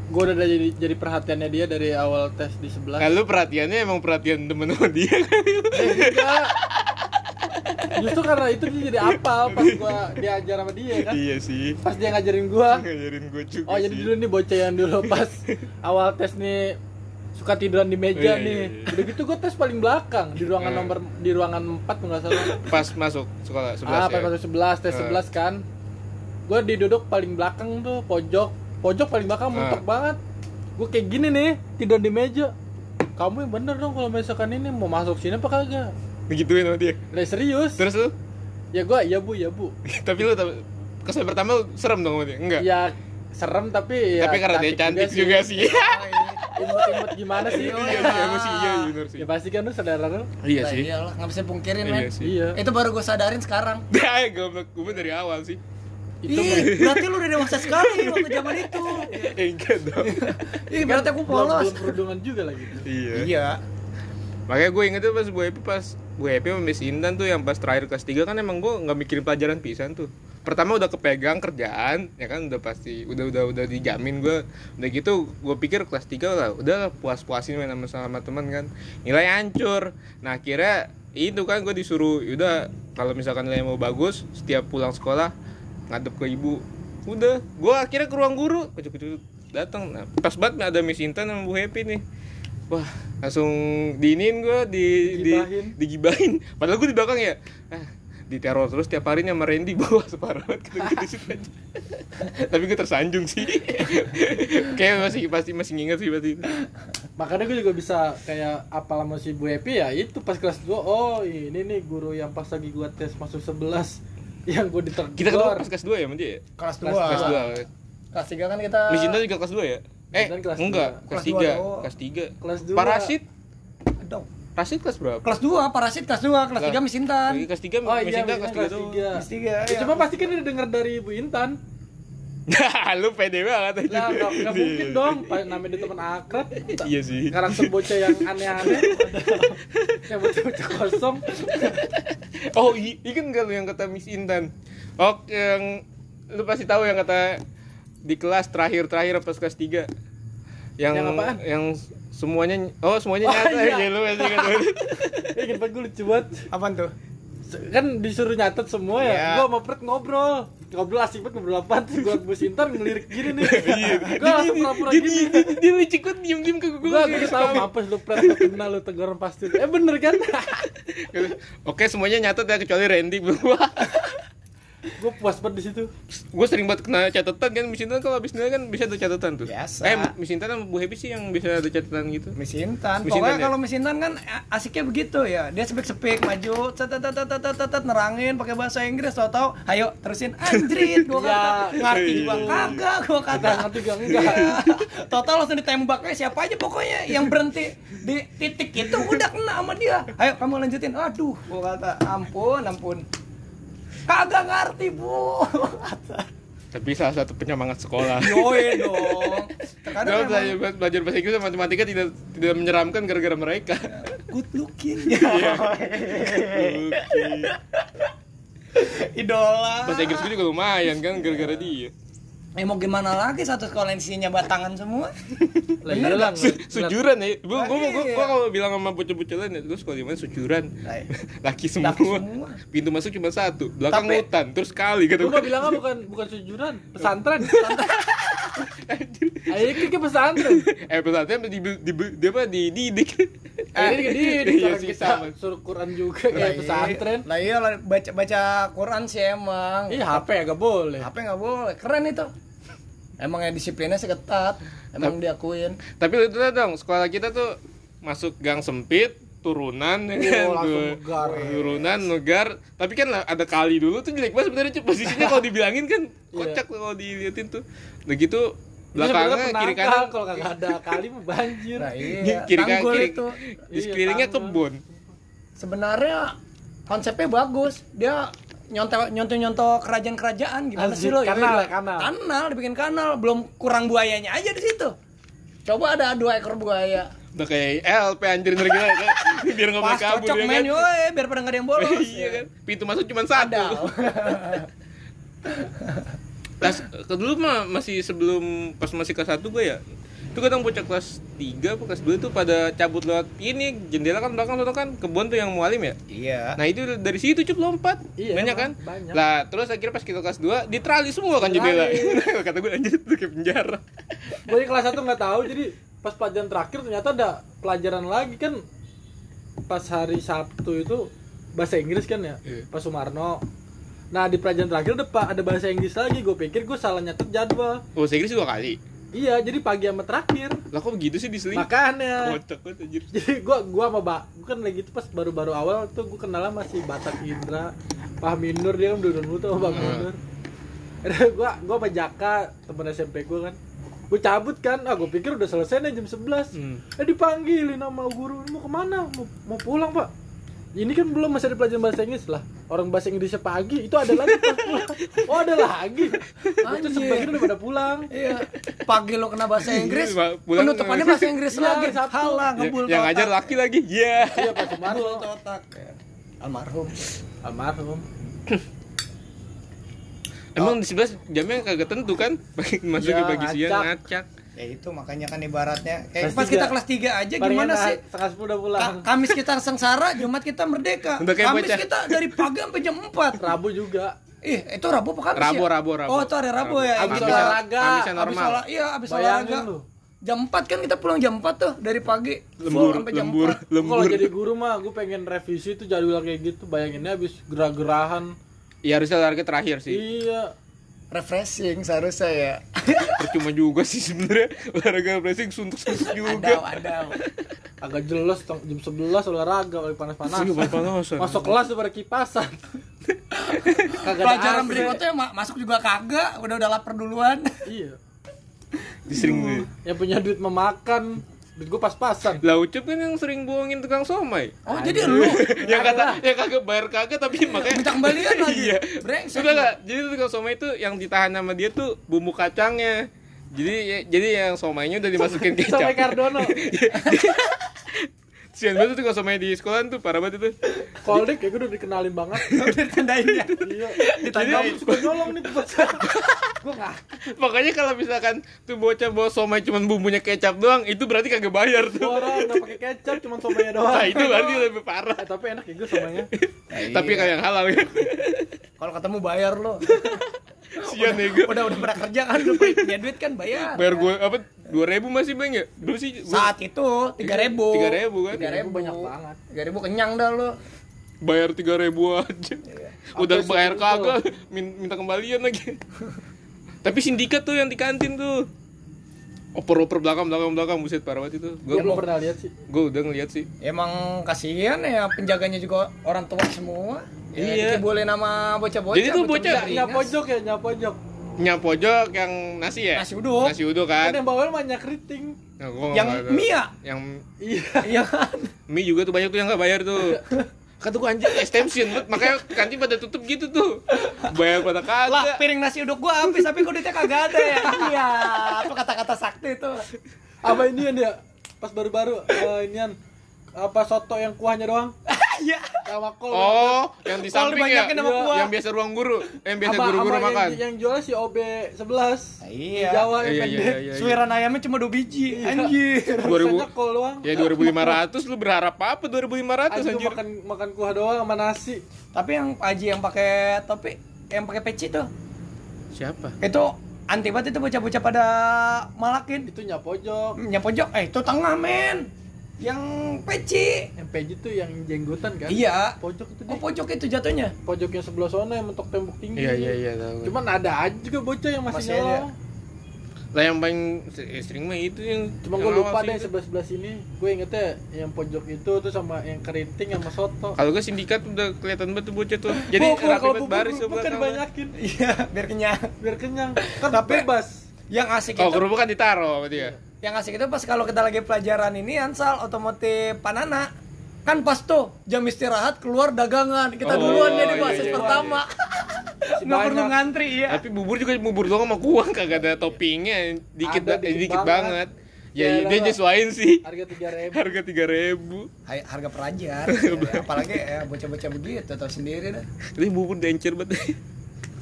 [SPEAKER 2] Gue udah jadi jadi perhatiannya dia dari awal tes di
[SPEAKER 1] Nah,
[SPEAKER 2] 11.
[SPEAKER 1] lu perhatiannya emang perhatian temen sama dia kan?
[SPEAKER 2] Eh, Justru karena itu dia jadi apa pas gua diajar sama dia kan.
[SPEAKER 1] iya sih.
[SPEAKER 2] Pas dia ngajarin gua.
[SPEAKER 1] Ngajarin gue juga
[SPEAKER 2] Oh, jadi
[SPEAKER 1] Gitu sih.
[SPEAKER 2] dulu nih bocah yang dulu pas awal tes nih suka tiduran di
[SPEAKER 1] Iya,
[SPEAKER 2] meja
[SPEAKER 1] iya,
[SPEAKER 2] nih.
[SPEAKER 1] iya.
[SPEAKER 2] Udah gitu gua tes paling belakang di ruangan
[SPEAKER 1] Eh.
[SPEAKER 2] nomor di ruangan 4 enggak salah.
[SPEAKER 1] pas masuk sekolah 11
[SPEAKER 2] ah,
[SPEAKER 1] ya.
[SPEAKER 2] pas masuk 11,
[SPEAKER 1] Eh.
[SPEAKER 2] tes 11 kan. Gua diduduk paling belakang tuh, pojok. Pojok paling belakang
[SPEAKER 1] Eh.
[SPEAKER 2] mentok banget. Gua kayak gini nih, tidur di meja. Kamu yang bener dong kalau misalkan ini mau masuk sini apa kagak?
[SPEAKER 1] Begituin sama dia.
[SPEAKER 2] Lah serius?
[SPEAKER 1] Terus lu?
[SPEAKER 2] Ya gua, ya Bu, ya Bu.
[SPEAKER 1] Tapi lu tau- kesan pertama lu serem dong sama dia. Enggak.
[SPEAKER 2] Ya serem tapi ya
[SPEAKER 1] Tapi karena dia Iya, cantik juga sih.
[SPEAKER 2] imut-imut gimana sih?
[SPEAKER 1] Iya sih, emang sih iya bener sih.
[SPEAKER 2] Ya pasti kan lu saudara lu.
[SPEAKER 1] Iya
[SPEAKER 3] Lah,
[SPEAKER 1] sih.
[SPEAKER 3] iyalah, nggak bisa pungkirin men
[SPEAKER 1] Iya sih.
[SPEAKER 2] Iya.
[SPEAKER 3] Itu baru gue sadarin sekarang
[SPEAKER 1] Dah, goblok gue dari awal sih.
[SPEAKER 2] Itu
[SPEAKER 3] Ih, berarti lu udah dewasa sekali waktu zaman itu
[SPEAKER 1] Eh, Enggak dong. Kan
[SPEAKER 3] Ih, Iya, berarti aku polos
[SPEAKER 2] kan Belum kerudungan juga lagi.
[SPEAKER 1] Iya.
[SPEAKER 3] Iya
[SPEAKER 1] Makanya gue inget tuh pas Bu Epi pas Bu Epi sama Miss Intan tuh yang pas terakhir kelas 3 kan emang gue nggak mikirin pelajaran pisan tuh. Pertama udah kepegang kerjaan, ya kan udah pasti udah udah udah dijamin gue. Udah gitu gue pikir kelas 3 lah udah puas-puasin main sama sama teman kan. Nilai hancur. Nah, akhirnya itu kan gue disuruh udah kalau misalkan nilai mau bagus setiap pulang sekolah ngadep ke ibu udah gue akhirnya ke ruang guru kecuk-kecuk datang nah, pas banget ada Miss Intan sama Bu Happy nih wah langsung diinin gue di, di
[SPEAKER 2] Digibahin.
[SPEAKER 1] digibahin padahal gue di belakang ya ah, diteror terus tiap hari sama Randy bawa separuh banget kata gitu situ aja. tapi gue tersanjung sih kayak masih pasti masih nginget sih pasti itu.
[SPEAKER 2] Makanya gue juga bisa kayak apa sama si Bu Epi ya itu pas kelas 2 oh ini nih guru yang pas lagi gua tes masuk 11 yang gua ditegur.
[SPEAKER 1] kita ketemu pas kelas 2 ya sama dia ya?
[SPEAKER 3] Kelas
[SPEAKER 2] Kelas-
[SPEAKER 3] 2
[SPEAKER 1] kelas
[SPEAKER 3] Kelas 3 kan kita
[SPEAKER 1] 2 Miss Inta juga kelas 2 ya? Eh,
[SPEAKER 2] Dan kelas
[SPEAKER 1] enggak,
[SPEAKER 2] dua. oh.
[SPEAKER 1] kelas
[SPEAKER 3] Kelas dua doang.
[SPEAKER 1] 3 Kelas 3
[SPEAKER 2] Kelas dua.
[SPEAKER 1] Parasit?
[SPEAKER 3] Aduh.
[SPEAKER 1] Rasid kelas berapa?
[SPEAKER 3] Kelas 2, Parasit kelas 2, kelas 3 Miss Intan
[SPEAKER 1] Lagi Kelas 3
[SPEAKER 2] Oh
[SPEAKER 1] Miss
[SPEAKER 2] iya,
[SPEAKER 1] Inta kelas
[SPEAKER 2] Miss Intan kelas
[SPEAKER 1] 3
[SPEAKER 2] 3.
[SPEAKER 3] Kelas tiga,
[SPEAKER 2] Ya,
[SPEAKER 3] iya.
[SPEAKER 2] Cuma pasti kan udah denger dari Bu Intan.
[SPEAKER 1] Nah, lu pede banget aja
[SPEAKER 2] Lah, nggak nggak mungkin dong, Pak, namanya dia teman akrab.
[SPEAKER 1] Iya sih
[SPEAKER 2] Karakter bocah yang aneh-aneh. yang bocah-bocah kosong.
[SPEAKER 1] Oh, i ikan gak lu yang kata Miss Intan? Oh, yang lu pasti tahu yang kata di kelas terakhir-terakhir pas kelas 3. Yang
[SPEAKER 2] Yang apaan?
[SPEAKER 1] yang semuanya oh, semuanya
[SPEAKER 2] Oh,
[SPEAKER 1] nyata.
[SPEAKER 2] iya.
[SPEAKER 1] Ya, lu pasti ingat banget.
[SPEAKER 2] Ya, ingat banget gue lucu banget.
[SPEAKER 3] Apaan tuh?
[SPEAKER 2] kan disuruh nyatet semua ya.
[SPEAKER 3] Iya.
[SPEAKER 2] Gua sama Pret ngobrol. Ngobrol asik banget ngobrol apa tuh gua Bu Sintan ngelirik gini nih.
[SPEAKER 1] Iya.
[SPEAKER 2] Iya. Gua langsung pura-pura
[SPEAKER 1] Dia-
[SPEAKER 2] gini.
[SPEAKER 1] dia- dia licik banget diem-diem ke gue.
[SPEAKER 2] Gua gua tahu mampus lu Pret lu kena lu teguran pasti. Eh bener kan?
[SPEAKER 1] Oke, semuanya nyatet ya kecuali Randy gua.
[SPEAKER 2] gua puas banget di situ.
[SPEAKER 1] gue sering banget kena catatan kan Miss Intan kalau habis nilai kan bisa ada catatan tuh.
[SPEAKER 3] Biasa.
[SPEAKER 1] Eh, Miss Intan sama Bu Happy sih yang bisa ada catatan gitu.
[SPEAKER 3] Miss Intan.
[SPEAKER 1] Miss
[SPEAKER 3] Pokoknya
[SPEAKER 1] Intan ya?
[SPEAKER 3] kalau Miss Intan kan a- asiknya begitu ya. Dia sepik-sepik maju, tet tet tet tet tet, tet, tet, nerangin pakai bahasa Inggris tahu-tahu, ayo terusin anjrit
[SPEAKER 2] Iya.
[SPEAKER 3] gua kata. Ngerti gua kagak gua kata. Iya.
[SPEAKER 2] Kata ngerti gak enggak.
[SPEAKER 3] Total langsung ditembaknya siapa aja pokoknya yang berhenti di titik itu udah kena sama dia. Ayo kamu lanjutin. Aduh, gua kata ampun ampun. Kagak ngerti, Bu. Gua kata.
[SPEAKER 1] Tapi salah satu penyemangat sekolah.
[SPEAKER 3] Yoi dong. Terkadang
[SPEAKER 1] Nah,
[SPEAKER 3] memang
[SPEAKER 1] belajar, belajar bahasa Inggris dan matematika tidak tidak menyeramkan gara-gara mereka.
[SPEAKER 3] good looking.
[SPEAKER 1] Iya. Oke.
[SPEAKER 3] Idola.
[SPEAKER 1] Bahasa Inggris gue juga lumayan kan gara-gara dia.
[SPEAKER 3] Eh mau gimana lagi satu sekolah isinya batangan semua?
[SPEAKER 2] Lah iyalah.
[SPEAKER 1] Su- Sujuran ya. Gua gua gua,
[SPEAKER 3] Iya.
[SPEAKER 1] gua kalau bilang sama bocah-bocah lain ya, terus kalau di mana sujuran.
[SPEAKER 3] Lah,
[SPEAKER 1] Laki semua.
[SPEAKER 3] Laki semua.
[SPEAKER 1] Pintu masuk cuma satu, belakang
[SPEAKER 3] Tapi-
[SPEAKER 1] hutan, terus kali kata
[SPEAKER 2] Gua
[SPEAKER 1] gua.
[SPEAKER 2] mau bilangnya bukan bukan sujuran, pesantren. Ayo ke ke pesantren.
[SPEAKER 1] eh pesantren di di di apa dididik
[SPEAKER 3] Eh,
[SPEAKER 2] Ini gede di
[SPEAKER 1] Iya sih, sama.
[SPEAKER 2] kita suruh Quran juga
[SPEAKER 1] Iya,
[SPEAKER 2] kayak pesantren.
[SPEAKER 3] Lah iya lah, baca baca Quran sih emang.
[SPEAKER 2] Iya HP agak boleh.
[SPEAKER 3] HP nggak boleh. Keren itu. Emang yang disiplinnya sih ketat. Emang diakuin.
[SPEAKER 1] tapi itu lah dong sekolah kita tuh masuk gang sempit
[SPEAKER 3] Oh,
[SPEAKER 1] turunan ya kan?
[SPEAKER 2] langsung
[SPEAKER 1] Gua-
[SPEAKER 2] megar.
[SPEAKER 1] turunan megar tapi kan lah, ada kali dulu tuh jelek banget sebenarnya Cuk. posisinya kalau dibilangin kan
[SPEAKER 3] Iya.
[SPEAKER 1] kocak tuh kalau diliatin tuh udah gitu
[SPEAKER 2] Ini sebenarnya
[SPEAKER 1] belakangnya kiri
[SPEAKER 2] penangkal,
[SPEAKER 1] kanan
[SPEAKER 2] kalau kagak ada kali mah banjir.
[SPEAKER 3] Nah, iya.
[SPEAKER 1] kiri kanan
[SPEAKER 3] Tanggul
[SPEAKER 1] kiri
[SPEAKER 3] itu.
[SPEAKER 1] di
[SPEAKER 2] Iya,
[SPEAKER 1] sekelilingnya
[SPEAKER 2] tanggul.
[SPEAKER 1] kebun
[SPEAKER 3] Sebenarnya konsepnya bagus. Dia nyontek nyontek nyontok kerajaan-kerajaan gimana
[SPEAKER 2] Asik,
[SPEAKER 3] sih lo?
[SPEAKER 2] kanal,
[SPEAKER 3] Iya,
[SPEAKER 1] ya,
[SPEAKER 2] kanal.
[SPEAKER 3] Kanal dibikin kanal, belum kurang buayanya aja di situ. Coba ada dua ekor buaya.
[SPEAKER 1] udah kayak LP anjir ngeri gila ya kan biar nggak boleh
[SPEAKER 3] Pas
[SPEAKER 1] kabur
[SPEAKER 3] cocok
[SPEAKER 1] ya
[SPEAKER 3] main,
[SPEAKER 1] kan?
[SPEAKER 3] woi, biar pada nggak ada yang bolos.
[SPEAKER 1] iya kan pintu masuk cuma satu
[SPEAKER 3] Ada.
[SPEAKER 1] kelas ke dulu mah masih sebelum pas masih kelas 1 gue ya itu kadang bocah kelas 3 apa kelas 2 tuh pada cabut lewat ini jendela kan belakang sono kan kebun tuh yang mualim ya
[SPEAKER 3] Iya.
[SPEAKER 1] nah itu dari situ cup lompat
[SPEAKER 2] Iya,
[SPEAKER 1] banyak kan
[SPEAKER 2] emang, banyak.
[SPEAKER 1] lah terus akhirnya pas kita kelas 2 diterali semua kan jendela kata gue anjir itu kayak penjara
[SPEAKER 2] Gue di kelas 1 nggak tahu jadi pas pelajaran terakhir ternyata ada pelajaran lagi kan pas hari Sabtu itu bahasa Inggris kan ya
[SPEAKER 1] Iya.
[SPEAKER 2] Pak Sumarno. Nah di pelajaran terakhir ada pa- ada bahasa Inggris lagi gue pikir gue salah nyatet jadwal.
[SPEAKER 1] oh saya kira sih dua kali
[SPEAKER 2] Iya jadi pagi sama terakhir
[SPEAKER 1] lah kok begitu sih diseling
[SPEAKER 2] makanya.
[SPEAKER 1] kocak banget anjir
[SPEAKER 2] jadi gua gua sama Mbak gua kan lagi itu pas baru-baru awal tuh gua kenal sama si Batak Indra Pak Minur dia kan duduk dulu tuh sama Bang
[SPEAKER 1] Hmm.
[SPEAKER 2] Minur Aduh, gua gua sama Jaka temen SMP gua kan gua cabut kan ah gua pikir udah selesai nih jam 11
[SPEAKER 1] Hmm.
[SPEAKER 2] eh dipanggilin sama guru ini mau kemana mau, mau pulang pak ini kan belum masih ada pelajaran bahasa Inggris lah orang bahasa Inggrisnya pagi itu ada lagi pas pulang oh ada lagi itu
[SPEAKER 3] Anjir.
[SPEAKER 2] sebagian udah pada pulang
[SPEAKER 3] Iya. Pagi lo kena bahasa Inggris,
[SPEAKER 1] Iya, pulang-
[SPEAKER 3] penutupannya bahasa Inggris
[SPEAKER 2] Iya,
[SPEAKER 3] lagi.
[SPEAKER 2] Sabtu.
[SPEAKER 3] Halah,
[SPEAKER 1] Ya,
[SPEAKER 3] ngebul
[SPEAKER 1] yang
[SPEAKER 3] totak.
[SPEAKER 1] ngajar laki lagi ya
[SPEAKER 2] iya Pak
[SPEAKER 3] Ngebul
[SPEAKER 2] Sumarno
[SPEAKER 3] totak.
[SPEAKER 2] Ya.
[SPEAKER 3] Almarhum.
[SPEAKER 2] almarhum Oh.
[SPEAKER 1] emang di sebelah jamnya kagak tentu kan masuknya
[SPEAKER 2] Iya,
[SPEAKER 1] pagi siang
[SPEAKER 2] ngacak.
[SPEAKER 1] ngacak
[SPEAKER 3] Ya itu makanya kan ibaratnya
[SPEAKER 2] Kelas
[SPEAKER 3] kayak pas kita
[SPEAKER 2] tiga.
[SPEAKER 3] kelas 3 aja
[SPEAKER 2] Palingan
[SPEAKER 3] gimana
[SPEAKER 2] ah,
[SPEAKER 3] sih?
[SPEAKER 2] setengah sepuluh udah pulang
[SPEAKER 3] Ka- Kamis kita sengsara, Jumat kita merdeka.
[SPEAKER 1] Udah kayak
[SPEAKER 3] Kamis
[SPEAKER 1] bocah.
[SPEAKER 3] kita dari pagi sampai jam 4.
[SPEAKER 2] Rabu juga
[SPEAKER 3] Ih, itu Rabu apa Kamis
[SPEAKER 1] Rabu,
[SPEAKER 3] ya?
[SPEAKER 1] Rabu, Rabu.
[SPEAKER 3] Oh, itu hari
[SPEAKER 1] Rabu.
[SPEAKER 3] Rabu, ya. yang
[SPEAKER 2] Abis
[SPEAKER 3] kita-
[SPEAKER 2] olahraga.
[SPEAKER 1] Abisnya
[SPEAKER 3] Abis
[SPEAKER 1] normal.
[SPEAKER 3] olah- iya, abis
[SPEAKER 2] Bayangin
[SPEAKER 3] olahraga.
[SPEAKER 2] lu.
[SPEAKER 3] Jam 4 kan kita pulang jam 4 tuh dari pagi.
[SPEAKER 1] lembur,
[SPEAKER 3] Full sampai jam
[SPEAKER 1] lembur,
[SPEAKER 3] 4.
[SPEAKER 2] kalau
[SPEAKER 1] lembur.
[SPEAKER 2] jadi guru mah gue pengen revisi tuh jadwal kayak gitu bayanginnya abis gerah-gerahan
[SPEAKER 1] Ya harusnya olahraga terakhir sih.
[SPEAKER 2] iya
[SPEAKER 3] Refreshing seharusnya ya.
[SPEAKER 1] Percuma juga sih sebenarnya olahraga pressing suntuk-suntuk
[SPEAKER 3] Adau,
[SPEAKER 1] juga.
[SPEAKER 3] adau.
[SPEAKER 2] agak jelas tong- jam 11 olahraga kali panas-panas
[SPEAKER 1] Iya, panas-panasan.
[SPEAKER 2] masuk kelas tuh pada kipasan Kagak ada
[SPEAKER 3] Pelajaran
[SPEAKER 2] AC.
[SPEAKER 3] berikutnya ma- masuk juga kagak, udah udah lapar duluan.
[SPEAKER 2] iya
[SPEAKER 1] Disering gue.
[SPEAKER 2] yang punya duit memakan duit gue pas-pasan
[SPEAKER 1] Lah Ucup kan yang sering bohongin tukang somai.
[SPEAKER 3] Oh, jadi lu
[SPEAKER 1] yang kata yang kagak bayar kagak tapi makanya
[SPEAKER 3] minta Iya, kembalian lagi.
[SPEAKER 1] Iya.
[SPEAKER 3] Brengsek.
[SPEAKER 1] Sudah enggak? Jadi tuh tukang somai itu yang ditahan sama dia tuh bumbu kacangnya. Jadi ya- jadi yang somainya udah dimasukin kecap.
[SPEAKER 2] sampai Cardono
[SPEAKER 1] Sian banget tuh tukang somai di sekolahan tuh parah banget itu.
[SPEAKER 2] koldik ya gue udah dikenalin banget
[SPEAKER 3] Udah tandain ya.
[SPEAKER 2] iya
[SPEAKER 3] Ditanya.
[SPEAKER 2] ditanya suka nyolong nih gue nggak
[SPEAKER 1] Makanya kalau misalkan tuh bocah bawa somai cuman bumbunya kecap doang, itu berarti kagak bayar tuh.
[SPEAKER 2] orang nggak pakai kecap cuma somenya doang
[SPEAKER 1] Nah, itu berarti
[SPEAKER 3] Oh.
[SPEAKER 1] lebih parah.
[SPEAKER 2] Eh, tapi enak ya gue somenya
[SPEAKER 3] Nah, iya.
[SPEAKER 1] Tapi kalau yang halal ya.
[SPEAKER 3] Kalau ketemu bayar lo.
[SPEAKER 1] Sian ya gue.
[SPEAKER 3] Udah udah pernah kerja kan udah punya duit kan bayar.
[SPEAKER 1] Bayar gue apa 2000 masih Bang ya? Dulu sih gua
[SPEAKER 3] Saat itu 3000.
[SPEAKER 1] 3.000 kan?
[SPEAKER 3] 3000
[SPEAKER 2] banyak banget.
[SPEAKER 3] 3000 kenyang dah lo.
[SPEAKER 1] bayar 3000 aja.
[SPEAKER 3] Iya.
[SPEAKER 1] Udah
[SPEAKER 2] Apa
[SPEAKER 1] bayar
[SPEAKER 2] sih itu?
[SPEAKER 1] kagak min- minta kembalian lagi. Tapi sindikat tuh yang di kantin tuh. Oper-oper belakang belakang belakang buset parah banget itu.
[SPEAKER 2] gue
[SPEAKER 3] Iya,
[SPEAKER 1] Gue
[SPEAKER 2] belum pernah lihat sih
[SPEAKER 1] gue udah ngeliat sih.
[SPEAKER 3] Emang kasihan ya penjaganya juga orang tua semua.
[SPEAKER 1] Iya.
[SPEAKER 3] Ya, boleh nama bocah-bocah.
[SPEAKER 1] Jadi tuh bocah-
[SPEAKER 2] Nggak- nggak
[SPEAKER 3] beringas.
[SPEAKER 2] pojok ya nggak pojok
[SPEAKER 1] Nyam pojok yang nasi ya?
[SPEAKER 3] Nasi uduk.
[SPEAKER 1] Nasi uduk kan.
[SPEAKER 2] kan yang bawel mah nyak keriting
[SPEAKER 1] Nah, gua nggak
[SPEAKER 3] Yang ya?
[SPEAKER 1] ada.
[SPEAKER 3] Mia.
[SPEAKER 1] yang
[SPEAKER 2] iya
[SPEAKER 3] Iya kan?
[SPEAKER 1] mie juga tuh banyak tuh yang nggak bayar tuh. Kata gue anjing extension banget. makanya kantin pada tutup gitu tuh. Bayar pada
[SPEAKER 3] Lah,
[SPEAKER 1] kagak.
[SPEAKER 3] piring nasi uduk gua habis tapi kok duitnya kagak ada ya. Iya, apa kata-kata sakti itu.
[SPEAKER 2] apa ini yang dia pas baru-baru eh, inian apa soto yang kuahnya doang
[SPEAKER 3] Iya.
[SPEAKER 2] sama kol
[SPEAKER 1] Oh, yang di
[SPEAKER 3] Kalau
[SPEAKER 1] samping ya.
[SPEAKER 3] dibanyakin sama kuah.
[SPEAKER 1] Yang biasa ruang guru, eh, yang biasa
[SPEAKER 2] Sama-
[SPEAKER 1] guru-guru
[SPEAKER 2] sama
[SPEAKER 1] makan.
[SPEAKER 2] yang, yang jualnya si OB 11
[SPEAKER 3] Iya.
[SPEAKER 2] Di Jawa yang
[SPEAKER 1] Iya, iya,
[SPEAKER 2] pendek
[SPEAKER 1] iya, iya.
[SPEAKER 3] Suiran ayamnya cuma 2 biji. Anjir.
[SPEAKER 1] Dua ribu-
[SPEAKER 2] Rasanya kol doang
[SPEAKER 1] Ya 2500 lu berharap apa 2500
[SPEAKER 2] Anjir,
[SPEAKER 1] anjir.
[SPEAKER 2] makan makan kuah doang sama nasi
[SPEAKER 3] Tapi yang Aji yang pakai topi, yang pakai peci tuh,
[SPEAKER 1] Siapa?
[SPEAKER 3] itu anti banget itu bocah-bocah pada malakin
[SPEAKER 2] itu nyap pojok
[SPEAKER 3] yang pojok eh itu tengah men yang peci
[SPEAKER 2] MPJ tuh yang jenggotan kan
[SPEAKER 3] iya
[SPEAKER 2] pojok itu
[SPEAKER 3] oh
[SPEAKER 2] deh
[SPEAKER 3] pojok itu jatuhnya
[SPEAKER 2] pojoknya sebelah sana yang mentok tembok tinggi
[SPEAKER 1] iya iya iya tahu
[SPEAKER 2] cuman ada aja juga bocah yang masih,
[SPEAKER 3] Masih ada.
[SPEAKER 2] nyolong
[SPEAKER 1] lah yang paling se- sering mah itu yang
[SPEAKER 2] cuma
[SPEAKER 1] yang
[SPEAKER 2] gue
[SPEAKER 1] awal
[SPEAKER 2] lupa
[SPEAKER 1] sih
[SPEAKER 2] deh
[SPEAKER 1] itu.
[SPEAKER 2] sebelah sebelah sini gue ingetnya yang pojok itu tuh sama yang kerinting sama soto
[SPEAKER 1] kalau gue sindikat udah kelihatan banget tuh bocah tuh jadi
[SPEAKER 2] Bubur,
[SPEAKER 1] rapi
[SPEAKER 2] kalau
[SPEAKER 1] banget
[SPEAKER 2] bubur,
[SPEAKER 1] baris
[SPEAKER 2] bubur kan banyakin
[SPEAKER 3] iya biar kenyang
[SPEAKER 2] biar kenyang kan
[SPEAKER 3] Tapi-
[SPEAKER 2] bebas
[SPEAKER 3] yang asik
[SPEAKER 1] kalau
[SPEAKER 3] itu
[SPEAKER 1] kerupuk kan ditaro sama dia
[SPEAKER 2] Iya.
[SPEAKER 3] yang asik itu pas kalau kita lagi pelajaran ini Ansal otomotif Panana kan pas tuh jam istirahat keluar dagangan kita
[SPEAKER 1] Oh,
[SPEAKER 3] duluan jadi
[SPEAKER 1] iya,
[SPEAKER 3] basis
[SPEAKER 1] iya,
[SPEAKER 3] pertama nggak perlu
[SPEAKER 2] Banyak.
[SPEAKER 3] ngantri ya
[SPEAKER 2] Iya.
[SPEAKER 1] tapi bubur juga bubur doang sama kuah kagak ada toppingnya dikit
[SPEAKER 2] Ada,
[SPEAKER 1] ba- eh,
[SPEAKER 2] dikit
[SPEAKER 1] dikit
[SPEAKER 2] banget.
[SPEAKER 1] banget ya
[SPEAKER 2] Ya,
[SPEAKER 1] dia
[SPEAKER 2] lah.
[SPEAKER 1] nyesuaiin sih
[SPEAKER 2] harga tiga ribu
[SPEAKER 1] harga tiga ribu
[SPEAKER 3] Hai- harga pelajar
[SPEAKER 1] Iya,
[SPEAKER 3] ya, apalagi eh, bocah-bocah begitu tahu sendiri dah
[SPEAKER 1] ini bubur dencer banget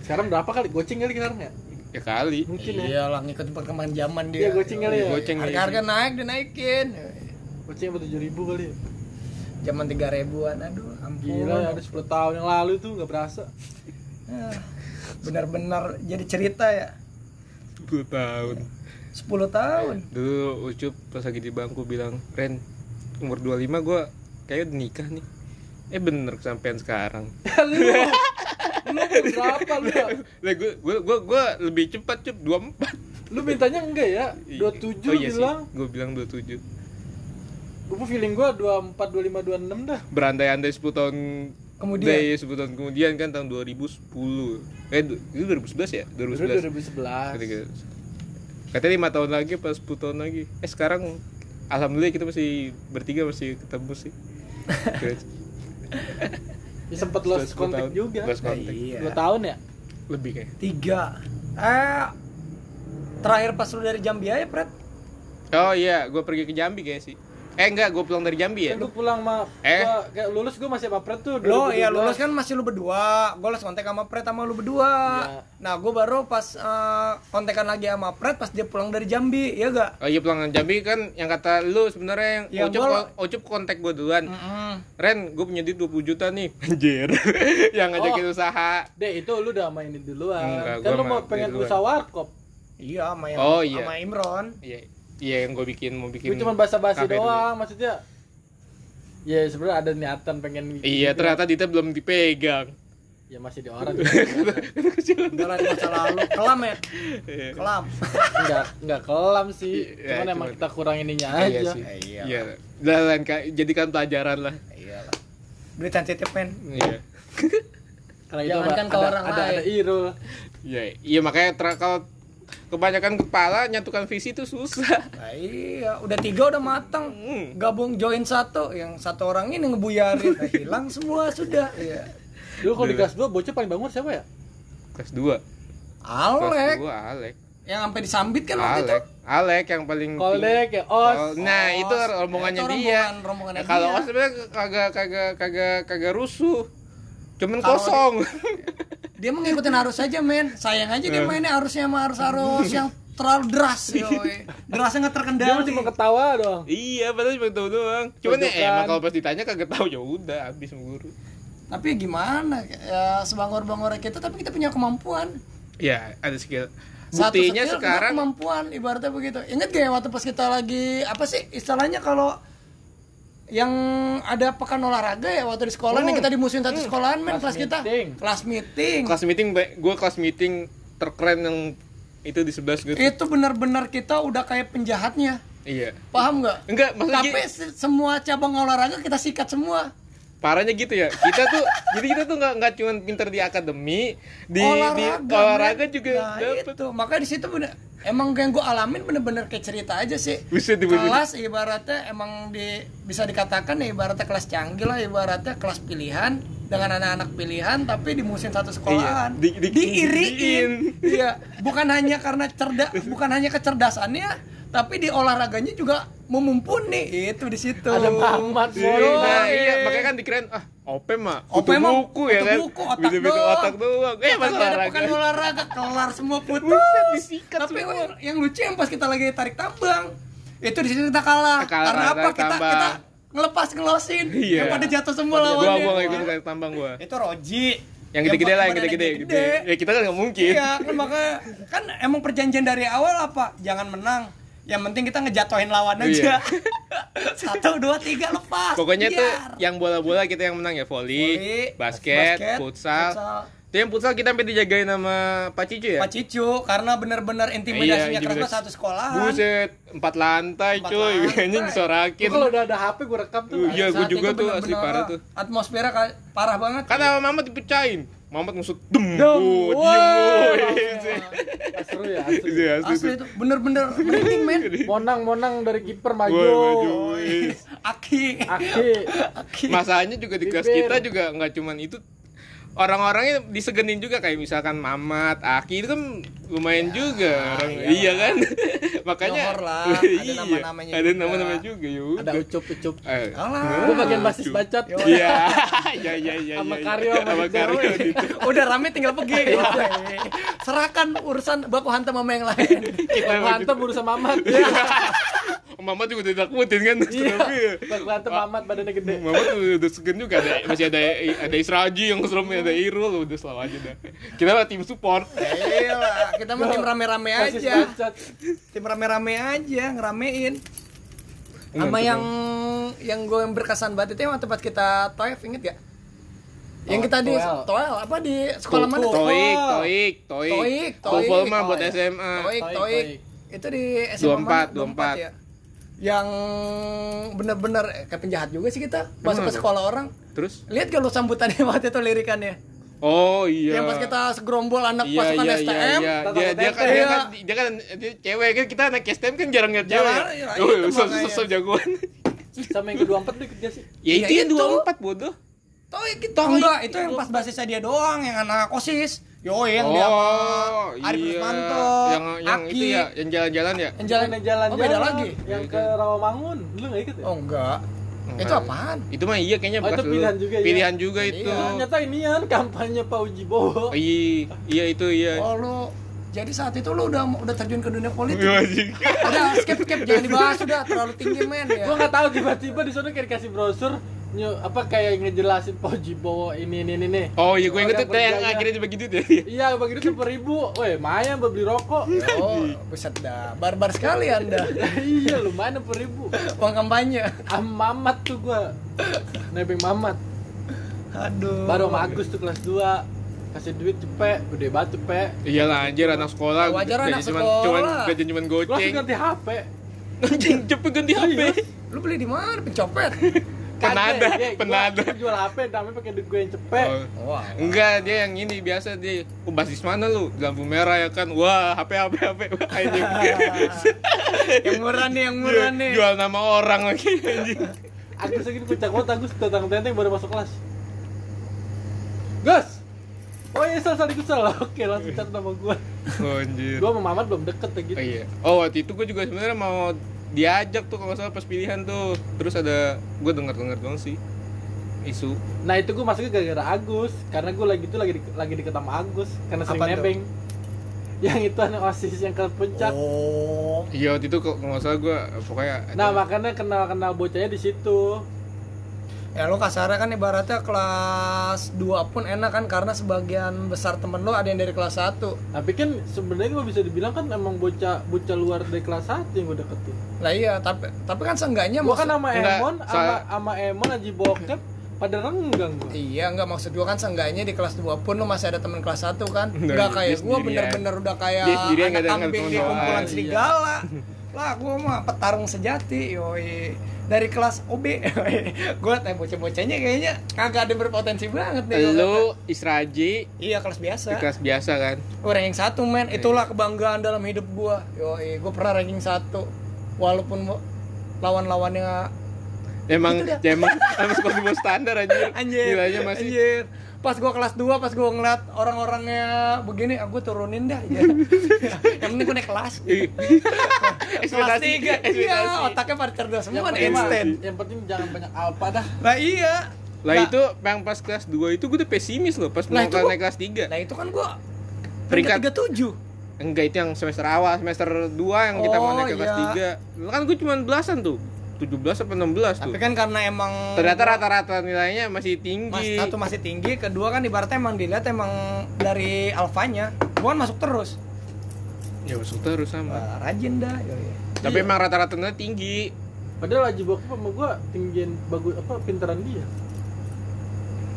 [SPEAKER 2] sekarang berapa kali goceng kali sekarang ya
[SPEAKER 1] ya kali
[SPEAKER 2] mungkin ya
[SPEAKER 3] iyalah ngikut perkembangan zaman
[SPEAKER 2] Iya
[SPEAKER 3] dia
[SPEAKER 2] goceng kali ya.
[SPEAKER 1] Goceng.
[SPEAKER 3] harga-harga naik dinaikin
[SPEAKER 2] Goceng apa 7000 kali. ya?
[SPEAKER 3] zaman tiga ribuan aduh ampun
[SPEAKER 2] Gila ya, ada 10 tahun yang lalu tuh nggak berasa.
[SPEAKER 3] Ah, benar-benar jadi cerita ya
[SPEAKER 1] dua tahun
[SPEAKER 3] 10 tahun
[SPEAKER 1] dulu ucup pas lagi di bangku bilang Ren umur 25 gue kayaknya udah nikah nih eh bener kesampean sekarang
[SPEAKER 2] lu lu umur berapa lu? ya?
[SPEAKER 1] lah gue gue gue lebih cepat cup 24
[SPEAKER 2] Lu mintanya enggak ya?
[SPEAKER 1] Iya. Oh,
[SPEAKER 2] 27 lu bilang.
[SPEAKER 1] gue bilang 27
[SPEAKER 2] Gue feeling gua 24 25 26 dah.
[SPEAKER 1] berandai-andai 10 tahun
[SPEAKER 3] Kemudian.
[SPEAKER 1] dari 10 tahun kemudian kan tahun 2010 eh du- itu 2011 ya
[SPEAKER 2] Dulu
[SPEAKER 1] 2011
[SPEAKER 2] 2011.
[SPEAKER 1] Ketika- katanya 5 tahun lagi pas 10 tahun lagi eh sekarang alhamdulillah kita masih bertiga masih ketemu sih
[SPEAKER 2] Ya sempet lost
[SPEAKER 1] 10
[SPEAKER 2] contact
[SPEAKER 1] tahun.
[SPEAKER 2] juga.
[SPEAKER 1] Lost contact.
[SPEAKER 3] Iya.
[SPEAKER 2] 2 tahun ya?
[SPEAKER 1] lebih kayak
[SPEAKER 3] tiga eh terakhir pas lu dari Jambi aja Fred
[SPEAKER 1] Oh iya, gue pergi ke Jambi kayak sih. Eh enggak, gue pulang dari Jambi ya.
[SPEAKER 2] Kan lu pulang mah
[SPEAKER 1] Eh. Oh, iya,
[SPEAKER 2] gua kayak lulus gua masih sama Pret tuh.
[SPEAKER 3] lo
[SPEAKER 2] 2012.
[SPEAKER 3] ya lulus kan masih lu berdua gue lulus kontak sama Fred sama lu berdua
[SPEAKER 2] Iya.
[SPEAKER 3] nah gue baru pas eh, kontekan lagi sama Fred pas dia pulang dari Jambi ya gak
[SPEAKER 1] Oh iya pulang dari Jambi kan yang kata lu sebenarnya yang
[SPEAKER 3] Ya,
[SPEAKER 1] Ucup
[SPEAKER 3] gua- Hmm.
[SPEAKER 1] Ucup kontak gue duluan.
[SPEAKER 3] Mm-mm.
[SPEAKER 1] Ren, gue punya duit 20 juta nih. Anjir. yang ngajakin
[SPEAKER 3] Oh.
[SPEAKER 1] usaha.
[SPEAKER 2] Deh, itu lu udah mainin duluan.
[SPEAKER 1] Enggak,
[SPEAKER 2] kan
[SPEAKER 1] gua
[SPEAKER 2] lu mau
[SPEAKER 1] main
[SPEAKER 2] pengen
[SPEAKER 1] duluan.
[SPEAKER 2] usaha warkop.
[SPEAKER 3] iya sama yang
[SPEAKER 1] Oh, iya.
[SPEAKER 3] sama Imron
[SPEAKER 1] Iya, iya yang gue bikin mau bikin.
[SPEAKER 2] Gue cuma basa-basi
[SPEAKER 1] kafe dulu.
[SPEAKER 2] doang maksudnya. Ya sebenarnya ada niatan pengen gitu.
[SPEAKER 1] Iya, ternyata Dita belum dipegang.
[SPEAKER 2] ya masih di orang
[SPEAKER 3] udah lah di masa lalu kelam ya kelam
[SPEAKER 2] enggak enggak kelam
[SPEAKER 1] Iya,
[SPEAKER 2] sih cuman
[SPEAKER 1] cuman-
[SPEAKER 2] emang kita kurang ininya
[SPEAKER 1] Iya
[SPEAKER 2] aja
[SPEAKER 1] sih.
[SPEAKER 3] iya
[SPEAKER 1] Iya. Udah, Ren, Kak, jadikan pelajaran lah.
[SPEAKER 3] iya lah duit sensitif men
[SPEAKER 1] Iya.
[SPEAKER 2] karena itu
[SPEAKER 3] Jangankan
[SPEAKER 2] ada,
[SPEAKER 3] ke
[SPEAKER 2] ada,
[SPEAKER 3] orang
[SPEAKER 2] ada,
[SPEAKER 3] lain.
[SPEAKER 2] ada Irul
[SPEAKER 1] Iya, iya makanya ter- kalau kebanyakan kepala nyatukan visi itu susah.
[SPEAKER 3] Nah, iya, udah tiga udah matang.
[SPEAKER 1] Hmm.
[SPEAKER 3] Gabung join satu, yang satu orang ini ngebuyarin, Nah, hilang semua sudah. Iya.
[SPEAKER 2] dulu kalau di kelas 2 bocah paling bangor siapa ya
[SPEAKER 1] Kelas 2. Kelas
[SPEAKER 3] Alek,
[SPEAKER 1] dua, Alek.
[SPEAKER 3] yang sampai disambit kan waktu itu.
[SPEAKER 1] Alek, Alek yang paling tinggi.
[SPEAKER 2] koldek ya os
[SPEAKER 1] Kol- Nah, itu rombongannya
[SPEAKER 3] Itu
[SPEAKER 1] dia.
[SPEAKER 3] rombongan- rombongannya
[SPEAKER 1] Ya, kalau
[SPEAKER 3] dia.
[SPEAKER 1] Os sebenarnya kagak kagak kagak kagak rusuh. Cuman
[SPEAKER 3] Kalau
[SPEAKER 1] kosong.
[SPEAKER 3] Dia mengikuti arus aja, men. Sayang aja
[SPEAKER 1] Iya.
[SPEAKER 3] dia mainnya arusnya sama arus-arus yang terlalu deras, yoi. Derasnya nggak
[SPEAKER 2] dia
[SPEAKER 3] terkendali.
[SPEAKER 2] cuma ketawa doang
[SPEAKER 1] iya, padahal cuma tahu doang. Cuman ya
[SPEAKER 2] Pojokan.
[SPEAKER 1] emang kalau pas ditanya kagak tahu ya udah habis sama guru.
[SPEAKER 3] Tapi gimana? Ya, sebangor-bangornya kita, tapi kita punya kemampuan.
[SPEAKER 1] Ya, ada skill.
[SPEAKER 3] Satu
[SPEAKER 1] Buktinya
[SPEAKER 3] skill, dua
[SPEAKER 1] sekarang
[SPEAKER 3] kemampuan ibaratnya begitu. Ingat gak ya waktu pas kita lagi apa sih istilahnya kalau yang ada pekan olahraga ya waktu di sekolah
[SPEAKER 1] Hmm.
[SPEAKER 3] nih kita dimusuhin satu sekolahan men kelas,
[SPEAKER 2] Kelas
[SPEAKER 3] kita
[SPEAKER 2] meeting.
[SPEAKER 3] kelas meeting
[SPEAKER 1] kelas meeting gue kelas meeting terkeren yang itu di 11 gitu.
[SPEAKER 3] itu benar-benar kita udah kayak penjahatnya
[SPEAKER 1] Iya.
[SPEAKER 3] paham nggak?
[SPEAKER 1] Enggak, maksudnya
[SPEAKER 3] Tapi se- semua cabang olahraga kita sikat semua
[SPEAKER 1] parahnya gitu ya kita tuh jadi kita tuh nggak nggak cuman pinter di akademi di di
[SPEAKER 3] olahraga,
[SPEAKER 1] olahraga
[SPEAKER 3] men.
[SPEAKER 1] juga
[SPEAKER 3] nah,
[SPEAKER 1] dapet
[SPEAKER 3] itu makanya di situ bener emang yang gue alamin bener-bener kayak cerita aja sih
[SPEAKER 1] Buset, buset.
[SPEAKER 3] kelas ibaratnya emang di bisa dikatakan ya ibaratnya kelas canggih lah ibaratnya kelas pilihan dengan anak-anak pilihan tapi di musim satu sekolahan
[SPEAKER 1] Iya, di- di-
[SPEAKER 3] diiriin
[SPEAKER 1] diiriin.
[SPEAKER 3] iya bukan hanya karena cerdas bukan hanya kecerdasannya tapi di olahraganya juga memumpuni itu di situ
[SPEAKER 2] ada Muhammad Moro
[SPEAKER 1] nah
[SPEAKER 3] Yoi.
[SPEAKER 1] iya makanya kan dikeren ah op mah
[SPEAKER 3] OP
[SPEAKER 1] kutu
[SPEAKER 3] emang
[SPEAKER 1] buku ya
[SPEAKER 3] Oh, kutu
[SPEAKER 1] kan
[SPEAKER 3] buku, otak
[SPEAKER 1] Beda-beda
[SPEAKER 3] doang.
[SPEAKER 1] otak doang eh
[SPEAKER 3] Tapi
[SPEAKER 1] mas
[SPEAKER 3] ada
[SPEAKER 1] olahraga
[SPEAKER 3] bukan olahraga kelar semua putus
[SPEAKER 1] Buset, disikat
[SPEAKER 3] tapi
[SPEAKER 1] semua.
[SPEAKER 3] yang- yang lucu yang pas kita lagi tarik tambang itu di situ kita kalah
[SPEAKER 1] Kalah,
[SPEAKER 3] karena apa
[SPEAKER 1] tarik
[SPEAKER 3] kita
[SPEAKER 1] tambang.
[SPEAKER 3] kita ngelepas ngelosin
[SPEAKER 1] Iya.
[SPEAKER 3] yang pada jatuh semua
[SPEAKER 1] gua gua
[SPEAKER 3] lawannya
[SPEAKER 1] nggak ikut kayak tambang gua
[SPEAKER 3] itu Roji
[SPEAKER 1] Yang gede-gede lah, yang
[SPEAKER 3] pengen
[SPEAKER 1] gede-gede.
[SPEAKER 3] yang
[SPEAKER 1] Gede. Ya kita kan nggak mungkin.
[SPEAKER 3] Iya, kan makanya kan emang perjanjian dari awal apa? Jangan menang. Yang penting kita ngejatuhin lawan
[SPEAKER 1] Iya.
[SPEAKER 3] aja. Satu, dua, tiga, lepas.
[SPEAKER 1] Pokoknya tuh
[SPEAKER 3] Biar.
[SPEAKER 1] yang bola-bola kita yang menang ya volley,
[SPEAKER 3] Volley,
[SPEAKER 1] basket,
[SPEAKER 3] basket,
[SPEAKER 1] futsal.
[SPEAKER 3] futsal.
[SPEAKER 1] Itu yang futsal kita sampai dijagain sama Pak Cicu ya?
[SPEAKER 3] Pak Cicu karena bener-bener
[SPEAKER 1] Iya,
[SPEAKER 3] intimidasinya keras banget
[SPEAKER 1] intimidasi.
[SPEAKER 3] satu sekolahan.
[SPEAKER 1] Buset, empat lantai
[SPEAKER 3] Empat
[SPEAKER 1] cuy,
[SPEAKER 3] lantai.
[SPEAKER 1] anjing disorakin.
[SPEAKER 2] Gua kalau udah ada HP gue rekam tuh.
[SPEAKER 1] Iya,
[SPEAKER 3] Saat
[SPEAKER 1] gua
[SPEAKER 3] itu
[SPEAKER 1] juga tuh asli
[SPEAKER 3] bener-bener
[SPEAKER 1] parah tuh.
[SPEAKER 3] Atmosfernya ka- parah banget.
[SPEAKER 1] Kan sama Mamat dipecahin. Mamat ngusut dem.
[SPEAKER 2] Dem,
[SPEAKER 1] Oh,
[SPEAKER 2] wah.
[SPEAKER 1] diem. woy.
[SPEAKER 2] Ah, seru ya. asli.
[SPEAKER 1] Itu asli
[SPEAKER 3] Asli
[SPEAKER 1] tuh.
[SPEAKER 3] itu bener-bener merinding men.
[SPEAKER 2] Monang-monang dari kiper
[SPEAKER 1] Woy, maju,
[SPEAKER 2] maju.
[SPEAKER 1] woy.
[SPEAKER 3] Aki.
[SPEAKER 2] Aki.
[SPEAKER 3] Aki.
[SPEAKER 1] Masalahnya juga di kelas
[SPEAKER 2] Bibir.
[SPEAKER 1] kita juga nggak cuman itu orang-orangnya disegenin juga kayak misalkan Mamat, Aki itu kan lumayan juga orang
[SPEAKER 3] iya
[SPEAKER 1] iya
[SPEAKER 3] lah.
[SPEAKER 1] kan makanya
[SPEAKER 3] Nyohor lah, ada
[SPEAKER 1] iya,
[SPEAKER 3] nama-namanya
[SPEAKER 1] ada
[SPEAKER 3] juga.
[SPEAKER 1] nama-namanya juga yuk
[SPEAKER 2] Ada ucup-ucup.
[SPEAKER 1] Eh,
[SPEAKER 3] Alah.
[SPEAKER 2] Gue bagian
[SPEAKER 1] lucu.
[SPEAKER 2] basis bacot.
[SPEAKER 1] Iya, iya, iya, iya.
[SPEAKER 2] Sama
[SPEAKER 1] iya.
[SPEAKER 2] Karyo, sama
[SPEAKER 1] sama
[SPEAKER 2] Dito.
[SPEAKER 1] Karyo. gitu. Dito.
[SPEAKER 3] Udah rame tinggal pergi.
[SPEAKER 1] Iya.
[SPEAKER 3] Serahkan urusan baku hantam sama yang lain.
[SPEAKER 1] Kita
[SPEAKER 2] Yang
[SPEAKER 1] sama
[SPEAKER 2] Ngantem urusan Mamat.
[SPEAKER 1] Dito. Mama juga udah ditakutin kan.
[SPEAKER 2] Iya.
[SPEAKER 1] Tapi ya,
[SPEAKER 2] Bang Ngantem Mamat badannya gede.
[SPEAKER 1] Mama tuh udah- udah segen juga ada masih ada ada Israji yang seremnya ada Irul udah selalu aja dah. Kita lah tim support.
[SPEAKER 3] Iya, kita mah tim rame-rame
[SPEAKER 2] Basis
[SPEAKER 3] aja.
[SPEAKER 2] bacot.
[SPEAKER 3] Tim rame-rame aja ngeramein. Sama
[SPEAKER 1] Ngantuk
[SPEAKER 3] yang yang gue yang berkesan banget itu yang tempat kita toef inget gak? Yang kita di
[SPEAKER 2] Toel.
[SPEAKER 3] toel apa di sekolah mana?
[SPEAKER 1] Oh, Toik,
[SPEAKER 3] Toel.
[SPEAKER 1] toik, toik.
[SPEAKER 3] Toik, toik.
[SPEAKER 1] Kofol mah
[SPEAKER 3] Oh,
[SPEAKER 1] buat
[SPEAKER 3] iya.
[SPEAKER 1] SMA.
[SPEAKER 3] Toik,
[SPEAKER 2] Toik,
[SPEAKER 3] toik.
[SPEAKER 2] toik.
[SPEAKER 3] Itu di SMA
[SPEAKER 1] 24,
[SPEAKER 3] mana?
[SPEAKER 1] 24.
[SPEAKER 3] ya. Yang bener-bener eh, kayak penjahat juga sih kita masuk ke
[SPEAKER 1] Kenapa?
[SPEAKER 3] sekolah orang.
[SPEAKER 1] Terus?
[SPEAKER 3] Lihat gak lu sambutannya waktu itu lirikannya?
[SPEAKER 1] Oh iya.
[SPEAKER 3] Yang pas kita segerombol anak
[SPEAKER 1] Iya,
[SPEAKER 3] pasukan
[SPEAKER 1] iya,
[SPEAKER 3] STM.
[SPEAKER 1] iya, iya.
[SPEAKER 2] Tata
[SPEAKER 1] Dia, dia, kan,
[SPEAKER 2] TT.
[SPEAKER 1] dia,
[SPEAKER 3] Iya.
[SPEAKER 1] kan, dia kan, dia cewek kan kita anak STM kan jarang lihat cewek.
[SPEAKER 3] Jarang, iya,
[SPEAKER 1] Oh,
[SPEAKER 3] itu
[SPEAKER 1] so, so,
[SPEAKER 3] makanya.
[SPEAKER 1] so jagoan.
[SPEAKER 2] Sama yang kedua empat tuh kerja sih.
[SPEAKER 1] Ya
[SPEAKER 3] Iya,
[SPEAKER 1] itu yang
[SPEAKER 3] itu.
[SPEAKER 1] 24 bodoh.
[SPEAKER 3] Toik itu enggak, itu yang pas basisnya dia doang yang anak OSIS. Yo yang dia sama
[SPEAKER 1] oh,
[SPEAKER 3] Arif
[SPEAKER 1] iya.
[SPEAKER 3] Rusmanto,
[SPEAKER 1] Yang yang
[SPEAKER 3] Aki.
[SPEAKER 1] itu ya, yang jalan-jalan ya.
[SPEAKER 3] Yang jalan
[SPEAKER 2] Yang jalan-jalan.
[SPEAKER 3] Oh, beda lagi.
[SPEAKER 2] Yang
[SPEAKER 1] Beda.
[SPEAKER 2] ke Rawamangun. Lu nggak ikut ya?
[SPEAKER 3] Oh enggak.
[SPEAKER 1] Enggak.
[SPEAKER 3] Itu apaan?
[SPEAKER 1] Itu mah iya kayaknya
[SPEAKER 2] Oh, itu
[SPEAKER 1] bekas lu.
[SPEAKER 2] pilihan juga, iya.
[SPEAKER 1] Pilihan juga
[SPEAKER 3] Iya.
[SPEAKER 1] itu.
[SPEAKER 2] Ternyata inian kampanye Pak Uji Bowo.
[SPEAKER 1] Oh, Iya, iya itu iya.
[SPEAKER 3] Oh lu jadi saat itu lu udah udah terjun ke dunia politik.
[SPEAKER 1] Iya, anjing.
[SPEAKER 3] udah skip skip jangan dibahas udah terlalu tinggi men ya.
[SPEAKER 2] Gua nggak tahu tiba-tiba di sana kayak dikasih brosur nyu- apa kayak ngejelasin Pak Uji Bowo ini ini ini. nih.
[SPEAKER 1] Oh iya gue inget
[SPEAKER 2] Orang
[SPEAKER 1] tuh yang
[SPEAKER 2] kerjanya.
[SPEAKER 1] akhirnya dibagi duit ya.
[SPEAKER 2] Iya, bagi itu sepuluh ribu. Weh, mayan buat beli rokok.
[SPEAKER 3] Oh, buset dah. Barbar sekali Anda.
[SPEAKER 2] iya, lumayan sepuluh ribu.
[SPEAKER 3] Uang kampanye.
[SPEAKER 2] Ah, mamat tuh gua. Nebeng mamat.
[SPEAKER 3] Aduh.
[SPEAKER 2] Baru sama Agus tuh kelas 2 kasih duit cepet, gede banget cepet.
[SPEAKER 1] Iyalah anjir anak sekolah.
[SPEAKER 3] Ya, Wajar anak
[SPEAKER 1] gaji cuman,
[SPEAKER 3] sekolah.
[SPEAKER 1] Cuman gajian cuman
[SPEAKER 2] Gua langsung
[SPEAKER 1] goceng. Iya.
[SPEAKER 2] ganti HP.
[SPEAKER 1] kan Anjing cepet ganti HP.
[SPEAKER 3] Lu beli di mana pencopet?
[SPEAKER 1] Penada,
[SPEAKER 2] Kagak, ya, gua-
[SPEAKER 1] penada.
[SPEAKER 2] gua jual HP, tapi pakai duit gue yang cepet.
[SPEAKER 1] Oh.
[SPEAKER 3] Wah.
[SPEAKER 1] Enggak, dia yang ini biasa dia. Oh, basis mana lu? Di Lampu merah ya kan. Wah, HP HP HP anjing.
[SPEAKER 3] yang murah nih, yang murah nih.
[SPEAKER 1] Iya, Jual nama orang lagi anjing.
[SPEAKER 2] Agus lagi di puncak banget, Agus datang tenteng baru masuk kelas. Gus. Oh iya, sel, sel, ikut sel. Oke, langsung cat nama gue.
[SPEAKER 1] Oh, anjir.
[SPEAKER 2] Gue sama Mamat belum deket ya gitu.
[SPEAKER 1] Oh, iya. Oh, waktu itu gue juga sebenarnya mau diajak tuh kalau nggak salah pas pilihan tuh. Terus ada gue dengar-dengar doang sih. Isu.
[SPEAKER 2] Nah itu gue masuknya gara-gara Agus, karena gue lagi itu lagi di, lagi deket sama Agus, karena sering
[SPEAKER 3] Apaan tuh?
[SPEAKER 2] nebeng. Yang itu anak osis yang ke puncak.
[SPEAKER 3] Oh.
[SPEAKER 1] Iya, waktu itu kalau nggak salah gue pokoknya ada-
[SPEAKER 2] Nah makanya kenal-kenal bocahnya di situ.
[SPEAKER 3] Ya lo kasarnya kan ibaratnya kelas 2 pun enak kan karena sebagian besar temen lo ada yang dari kelas 1
[SPEAKER 2] Tapi kan sebenarnya gue bisa dibilang kan emang bocah bocah luar dari kelas 1 yang gue deketin.
[SPEAKER 3] Lah iya, tapi tapi kan seenggaknya
[SPEAKER 2] Gue kan
[SPEAKER 3] maksud-
[SPEAKER 2] sama
[SPEAKER 1] enggak,
[SPEAKER 2] Emon, sama
[SPEAKER 1] soal-
[SPEAKER 2] sama Emon Aji Bokep pada renggang gue.
[SPEAKER 3] Iya, enggak maksud gua kan seenggaknya di kelas 2 pun lo masih ada temen kelas 1 kan
[SPEAKER 1] Nah,
[SPEAKER 3] Enggak
[SPEAKER 1] iya,
[SPEAKER 3] kayak
[SPEAKER 1] dia
[SPEAKER 3] gua
[SPEAKER 1] sendirian.
[SPEAKER 3] bener-bener udah kayak
[SPEAKER 1] Dia sendirian
[SPEAKER 3] anak
[SPEAKER 1] nggak ada- nggak ada
[SPEAKER 3] kambing di
[SPEAKER 1] teman
[SPEAKER 3] kumpulan
[SPEAKER 1] doang.
[SPEAKER 3] serigala Lah gua mah petarung sejati, yoi Dari kelas OB, yoi. gua tanya bocah-bocahnya kayaknya kagak ada yang berpotensi banget nih gua kata.
[SPEAKER 1] Lu Israji
[SPEAKER 3] Iya, kelas biasa
[SPEAKER 1] di kelas biasa kan.
[SPEAKER 3] Gue ranking satu men, itulah kebanggaan dalam hidup gua Yoi, gue pernah ranking satu Walaupun mo- lawan-lawannya
[SPEAKER 1] Emang
[SPEAKER 3] Gitu dah.
[SPEAKER 1] emang emang sekolah di bawah standar anjir.
[SPEAKER 3] Anjir,
[SPEAKER 1] Nilainya masih
[SPEAKER 3] anjir. Pas gua kelas 2, pas gua ngeliat orang-orangnya begini, aku turunin dah ya. Yang penting gue naik kelas gitu. Kelas
[SPEAKER 1] Iya, ekspektasi
[SPEAKER 3] 3, iya
[SPEAKER 1] ekspektasi.
[SPEAKER 3] otaknya pada cerdas
[SPEAKER 2] Yang
[SPEAKER 3] semua nih,
[SPEAKER 2] penting,
[SPEAKER 3] instan
[SPEAKER 2] yang penting jangan banyak alpa dah.
[SPEAKER 3] Nah iya
[SPEAKER 1] Lah itu yang pas kelas 2 itu gue udah pesimis loh pas mau
[SPEAKER 3] Lah, itu
[SPEAKER 1] ke-
[SPEAKER 3] gua-
[SPEAKER 1] naik kelas 3.
[SPEAKER 3] Nah itu kan gue
[SPEAKER 1] Peringkat.
[SPEAKER 3] peringkat 37
[SPEAKER 1] Enggak itu yang semester awal, semester 2 yang kita mau
[SPEAKER 3] Oh,
[SPEAKER 1] naik ke kelas
[SPEAKER 3] iya.
[SPEAKER 1] 3. Lah kan gue cuma belasan tuh. 17 apa 16 tuh
[SPEAKER 3] Tapi kan karena emang
[SPEAKER 1] ternyata rata-rata nilainya masih
[SPEAKER 3] Mas,
[SPEAKER 1] tinggi
[SPEAKER 3] satu masih tinggi, kedua kan ibaratnya emang dilihat emang dari alfanya, gua kan masuk terus.
[SPEAKER 1] ya masuk terus sama
[SPEAKER 3] Wah, Eh, rajin dah. yoi.
[SPEAKER 1] tapi emang rata-rata nilainya tinggi
[SPEAKER 2] Padahal aja bokap sama gua tinggian bagus apa pinteran dia.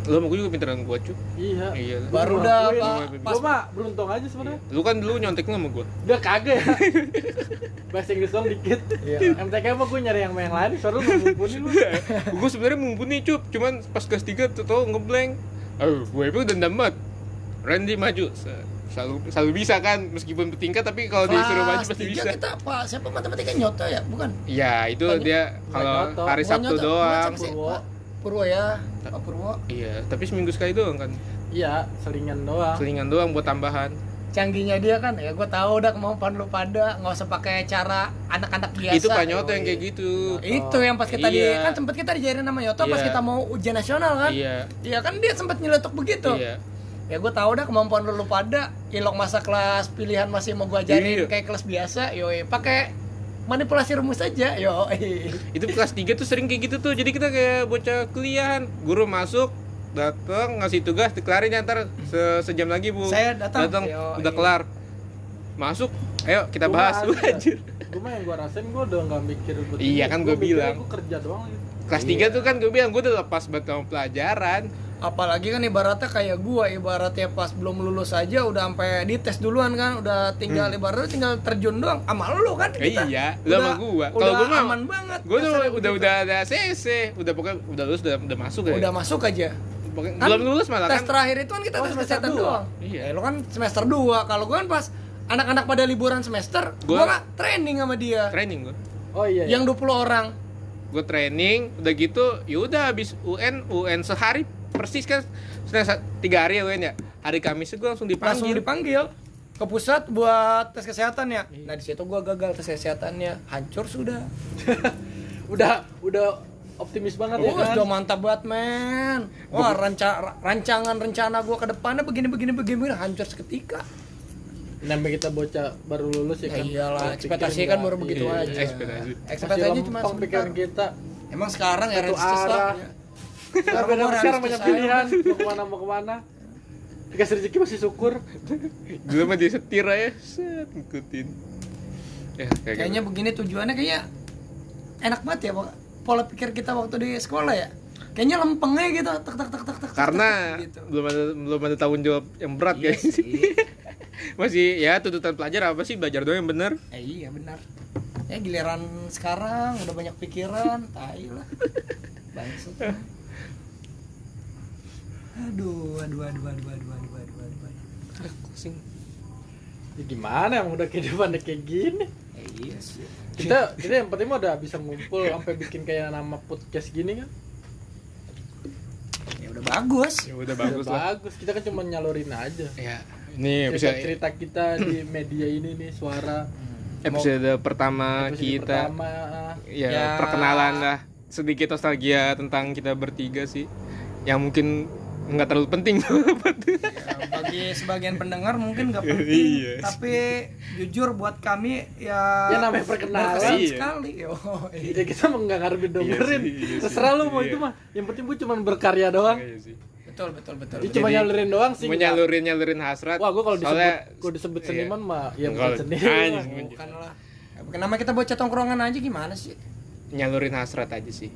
[SPEAKER 1] lo mau juga pinteran gua cuy
[SPEAKER 2] Iya.
[SPEAKER 1] iya
[SPEAKER 3] Baru
[SPEAKER 2] Gua
[SPEAKER 3] dah,
[SPEAKER 2] ngakuin.
[SPEAKER 3] Pak.
[SPEAKER 2] Gua
[SPEAKER 3] Pas
[SPEAKER 2] mah beruntung aja
[SPEAKER 3] Iya.
[SPEAKER 2] sebenarnya.
[SPEAKER 1] lu kan dulu nyontek lu sama gua
[SPEAKER 2] Udah kagak ya. Bahasa Inggris doang dikit.
[SPEAKER 1] Iya.
[SPEAKER 2] MTK mah gua nyari yang main lain, soalnya lu mumpuni lu.
[SPEAKER 1] gue sebenarnya mumpuni cup cuman pas kelas 3 tuh tau ngeblank oh, gue itu udah damat Randy maju Se- selalu selalu bisa kan meskipun bertingkat tapi kalau disuruh maju
[SPEAKER 3] Kelas
[SPEAKER 1] pasti
[SPEAKER 3] tiga
[SPEAKER 1] bisa
[SPEAKER 3] kita apa? Siapa matematika nyoto ya? Bukan.
[SPEAKER 1] ya itu
[SPEAKER 3] Bukan-
[SPEAKER 1] dia kalau
[SPEAKER 2] nyoto.
[SPEAKER 1] hari
[SPEAKER 3] Bukan
[SPEAKER 1] Sabtu
[SPEAKER 3] nyoto, bukan
[SPEAKER 1] doang
[SPEAKER 3] siapa sih?
[SPEAKER 2] Purwo.
[SPEAKER 3] Pak Purwo ya. Pak Purwo.
[SPEAKER 1] iya tapi seminggu sekali doang kan
[SPEAKER 2] Iya, selingan doang.
[SPEAKER 1] selingan doang buat tambahan
[SPEAKER 3] Canggihnya dia kan ya, gua tahu dah kemampuan lu pada nggak usah pakai cara anak-anak biasa. Nah,
[SPEAKER 1] itu pak Nyoto yang kayak gitu
[SPEAKER 3] Itu yang pas kita di
[SPEAKER 1] Iya.
[SPEAKER 3] kan sempat kita diajarin sama Yoto pas
[SPEAKER 1] Iya.
[SPEAKER 3] kita mau ujian nasional kan.
[SPEAKER 1] iya
[SPEAKER 3] Iya kan dia sempat nyeletuk begitu.
[SPEAKER 1] iya
[SPEAKER 3] Ya gue tahu dah kemampuan lu, lu pada ilok masa kelas pilihan masih mau gua ajarin
[SPEAKER 1] Iya.
[SPEAKER 3] kayak kelas biasa, yoi pakai manipulasi rumus aja, yoi.
[SPEAKER 1] itu kelas 3 tuh sering kayak gitu tuh jadi kita kayak bocah kuliahan guru masuk datang ngasih tugas dikelarin ya, ntar se- sejam lagi bu
[SPEAKER 3] Saya datang.
[SPEAKER 1] udah
[SPEAKER 3] Yo, iya.
[SPEAKER 1] kelar masuk ayo kita
[SPEAKER 2] Gua
[SPEAKER 1] bahas
[SPEAKER 2] mah
[SPEAKER 1] lu
[SPEAKER 2] ada.
[SPEAKER 1] anjir
[SPEAKER 2] Gua mah yang gua rasain gua udah nggak mikir buat
[SPEAKER 1] Iya
[SPEAKER 2] ini.
[SPEAKER 1] kan
[SPEAKER 2] Gua
[SPEAKER 1] gua
[SPEAKER 2] mikirnya
[SPEAKER 1] bilang.
[SPEAKER 2] Gua kerja doang gitu.
[SPEAKER 1] kelas 3 tuh kan gue bilang gue udah lepas banget sama pelajaran
[SPEAKER 3] Apalagi kan ibaratnya kayak gua ibaratnya pas belum lulus aja udah sampai dites duluan kan, udah tinggal ibaratnya tinggal terjun doang sama lu kan
[SPEAKER 1] Eh,
[SPEAKER 3] kita.
[SPEAKER 1] Hmm. iya, lu
[SPEAKER 3] udah,
[SPEAKER 1] sama gua. Kalau
[SPEAKER 3] Udah
[SPEAKER 1] gua mah-
[SPEAKER 3] aman banget. gitu.
[SPEAKER 1] gue tuh
[SPEAKER 3] kasarnya
[SPEAKER 1] udah udah
[SPEAKER 3] begitu.
[SPEAKER 1] udah ada CC udah pokoknya udah lulus udah, udah masuk ya
[SPEAKER 3] udah masuk aja.
[SPEAKER 1] Pokoknya
[SPEAKER 3] Kan
[SPEAKER 1] belum lulus malah
[SPEAKER 3] tes
[SPEAKER 1] kan
[SPEAKER 3] terakhir itu kan kita
[SPEAKER 2] Oh,
[SPEAKER 3] tes
[SPEAKER 2] semester
[SPEAKER 3] kesehatan
[SPEAKER 2] dua.
[SPEAKER 3] doang.
[SPEAKER 1] Iya.
[SPEAKER 3] Eh, lu kan semester 2. Kalau gua kan pas anak-anak pada liburan semester, gua,
[SPEAKER 1] Gua-
[SPEAKER 3] nggak training sama dia.
[SPEAKER 1] training gue
[SPEAKER 2] Oh iya. iya.
[SPEAKER 3] Yang 20 orang.
[SPEAKER 1] gue training udah gitu yaudah habis UN UN sehari persis kan Senin sa- tiga hari ya UN ya hari Kamis gue langsung
[SPEAKER 3] Langsung
[SPEAKER 1] dipanggil
[SPEAKER 3] dipanggil ke pusat buat tes kesehatan ya. Nah, di situ gua gagal tes kesehatannya. Hancur sudah.
[SPEAKER 2] udah udah optimis banget ya
[SPEAKER 3] Wah,
[SPEAKER 2] kan.
[SPEAKER 3] sudah mantap banget, men. Wah, ranca- ra- rancangan rencana gua ke depannya begini begini begini begini, hancur seketika.
[SPEAKER 2] Namanya kita bocah baru lulus ya
[SPEAKER 3] Ya
[SPEAKER 2] kan.
[SPEAKER 3] iyalah,
[SPEAKER 2] Pikir
[SPEAKER 3] ekspektasi
[SPEAKER 2] nggak-
[SPEAKER 3] kan baru begitu
[SPEAKER 1] Iya,
[SPEAKER 3] aja.
[SPEAKER 1] ekspektasi.
[SPEAKER 3] Ekspektasi cuma sebentar.
[SPEAKER 2] pikiran kita.
[SPEAKER 3] Emang sekarang ya
[SPEAKER 2] Satu
[SPEAKER 3] realistis lah.
[SPEAKER 2] arah. Kita beda
[SPEAKER 3] Orang
[SPEAKER 2] sekarang
[SPEAKER 3] realistis
[SPEAKER 2] banyak
[SPEAKER 3] aja.
[SPEAKER 2] pilihan mau kemana mau kemana. Dikasih rezeki masih syukur.
[SPEAKER 1] gue mah dia setir aja set ngikutin ya kayak
[SPEAKER 3] Kayaknya begini tujuannya kayaknya enak banget ya Pak. pola pikir kita waktu di sekolah ya. Kayaknya lempengnya gitu tek tek tek tek tek.
[SPEAKER 1] gitu. karena
[SPEAKER 3] tek, gitu.
[SPEAKER 1] belum ada belum ada tanggung jawab yang berat
[SPEAKER 3] Iya
[SPEAKER 1] guys
[SPEAKER 3] sih.
[SPEAKER 1] masih ya tuntutan pelajar apa sih belajar doang yang bener
[SPEAKER 3] Eh, iya benar. Ya giliran sekarang udah banyak pikiran, tai lah. Bangsat. Aduh, aduh, aduh, aduh, aduh, aduh, aduh, aduh. aduh.
[SPEAKER 2] Ya gimana yang udah kehidupan kayak gini.
[SPEAKER 3] Eh, iya sih.
[SPEAKER 2] Kita kita yang penting mah udah bisa ngumpul sampai bikin kayak nama podcast gini kan.
[SPEAKER 3] Ya udah bagus.
[SPEAKER 1] ya udah bagus
[SPEAKER 2] Udah
[SPEAKER 1] lah
[SPEAKER 2] bagus. Kita kan cuma nyalurin aja.
[SPEAKER 1] ya ini
[SPEAKER 2] Cerita,
[SPEAKER 1] bisa
[SPEAKER 2] cerita kita di media ini nih suara
[SPEAKER 1] episode pertama
[SPEAKER 2] episode
[SPEAKER 1] kita
[SPEAKER 2] pertama ah.
[SPEAKER 1] ya,
[SPEAKER 3] Ya.
[SPEAKER 1] perkenalan lah sedikit nostalgia tentang kita bertiga sih yang mungkin nggak terlalu penting
[SPEAKER 3] Ya, bagi sebagian pendengar mungkin nggak penting,
[SPEAKER 1] Iya sih.
[SPEAKER 3] tapi jujur buat kami ya
[SPEAKER 2] Ya, namanya perkenalan.
[SPEAKER 3] berkesan
[SPEAKER 1] Iya.
[SPEAKER 3] sekali. Yo,
[SPEAKER 2] Iya kita mau nggak ngarepin dengerin.
[SPEAKER 1] Iya sih, iya sih.
[SPEAKER 2] Terserah lu mau
[SPEAKER 1] Iya.
[SPEAKER 2] itu mah. Yang penting gue cuma berkarya doang.
[SPEAKER 3] betul betul betul.
[SPEAKER 2] Dia cuma nyalurin doang sih.
[SPEAKER 1] menyalurin Iya nyalurin hasrat
[SPEAKER 2] Wah, gue kalau disebut
[SPEAKER 1] Soalnya-
[SPEAKER 2] gua disebut
[SPEAKER 1] iya.
[SPEAKER 2] seniman mah ya
[SPEAKER 1] Enggak,
[SPEAKER 2] bukan seniman.
[SPEAKER 1] anjing.
[SPEAKER 3] Bukan lah. Ya, bukan nama kita bocah tongkrongan aja gimana sih?
[SPEAKER 1] nyalurin hasrat aja sih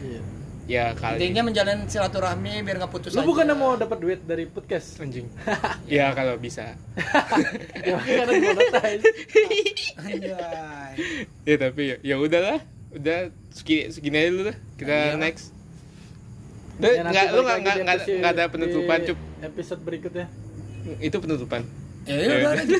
[SPEAKER 2] Iya.
[SPEAKER 1] ya kali
[SPEAKER 3] Intinya menjalin silaturahmi biar nggak putus
[SPEAKER 2] Lu
[SPEAKER 3] aja.
[SPEAKER 2] bukan mau dapat duit dari podcast.
[SPEAKER 1] anjing ya kalau bisa
[SPEAKER 2] ya karena monetize.
[SPEAKER 3] Anjay.
[SPEAKER 1] ya tapi ya, ya udahlah udah segini, segini aja dulu lah kita
[SPEAKER 3] Iya.
[SPEAKER 1] next Udah,
[SPEAKER 2] Ya, nanti
[SPEAKER 1] nggak lu
[SPEAKER 2] balik
[SPEAKER 1] nggak
[SPEAKER 2] lagi
[SPEAKER 1] nggak
[SPEAKER 2] di
[SPEAKER 1] nggak ada-
[SPEAKER 2] episode-
[SPEAKER 1] nggak ada penutupan
[SPEAKER 2] di
[SPEAKER 1] cup
[SPEAKER 2] Episode berikutnya.
[SPEAKER 1] itu penutupan
[SPEAKER 3] Ya udah udah, gitu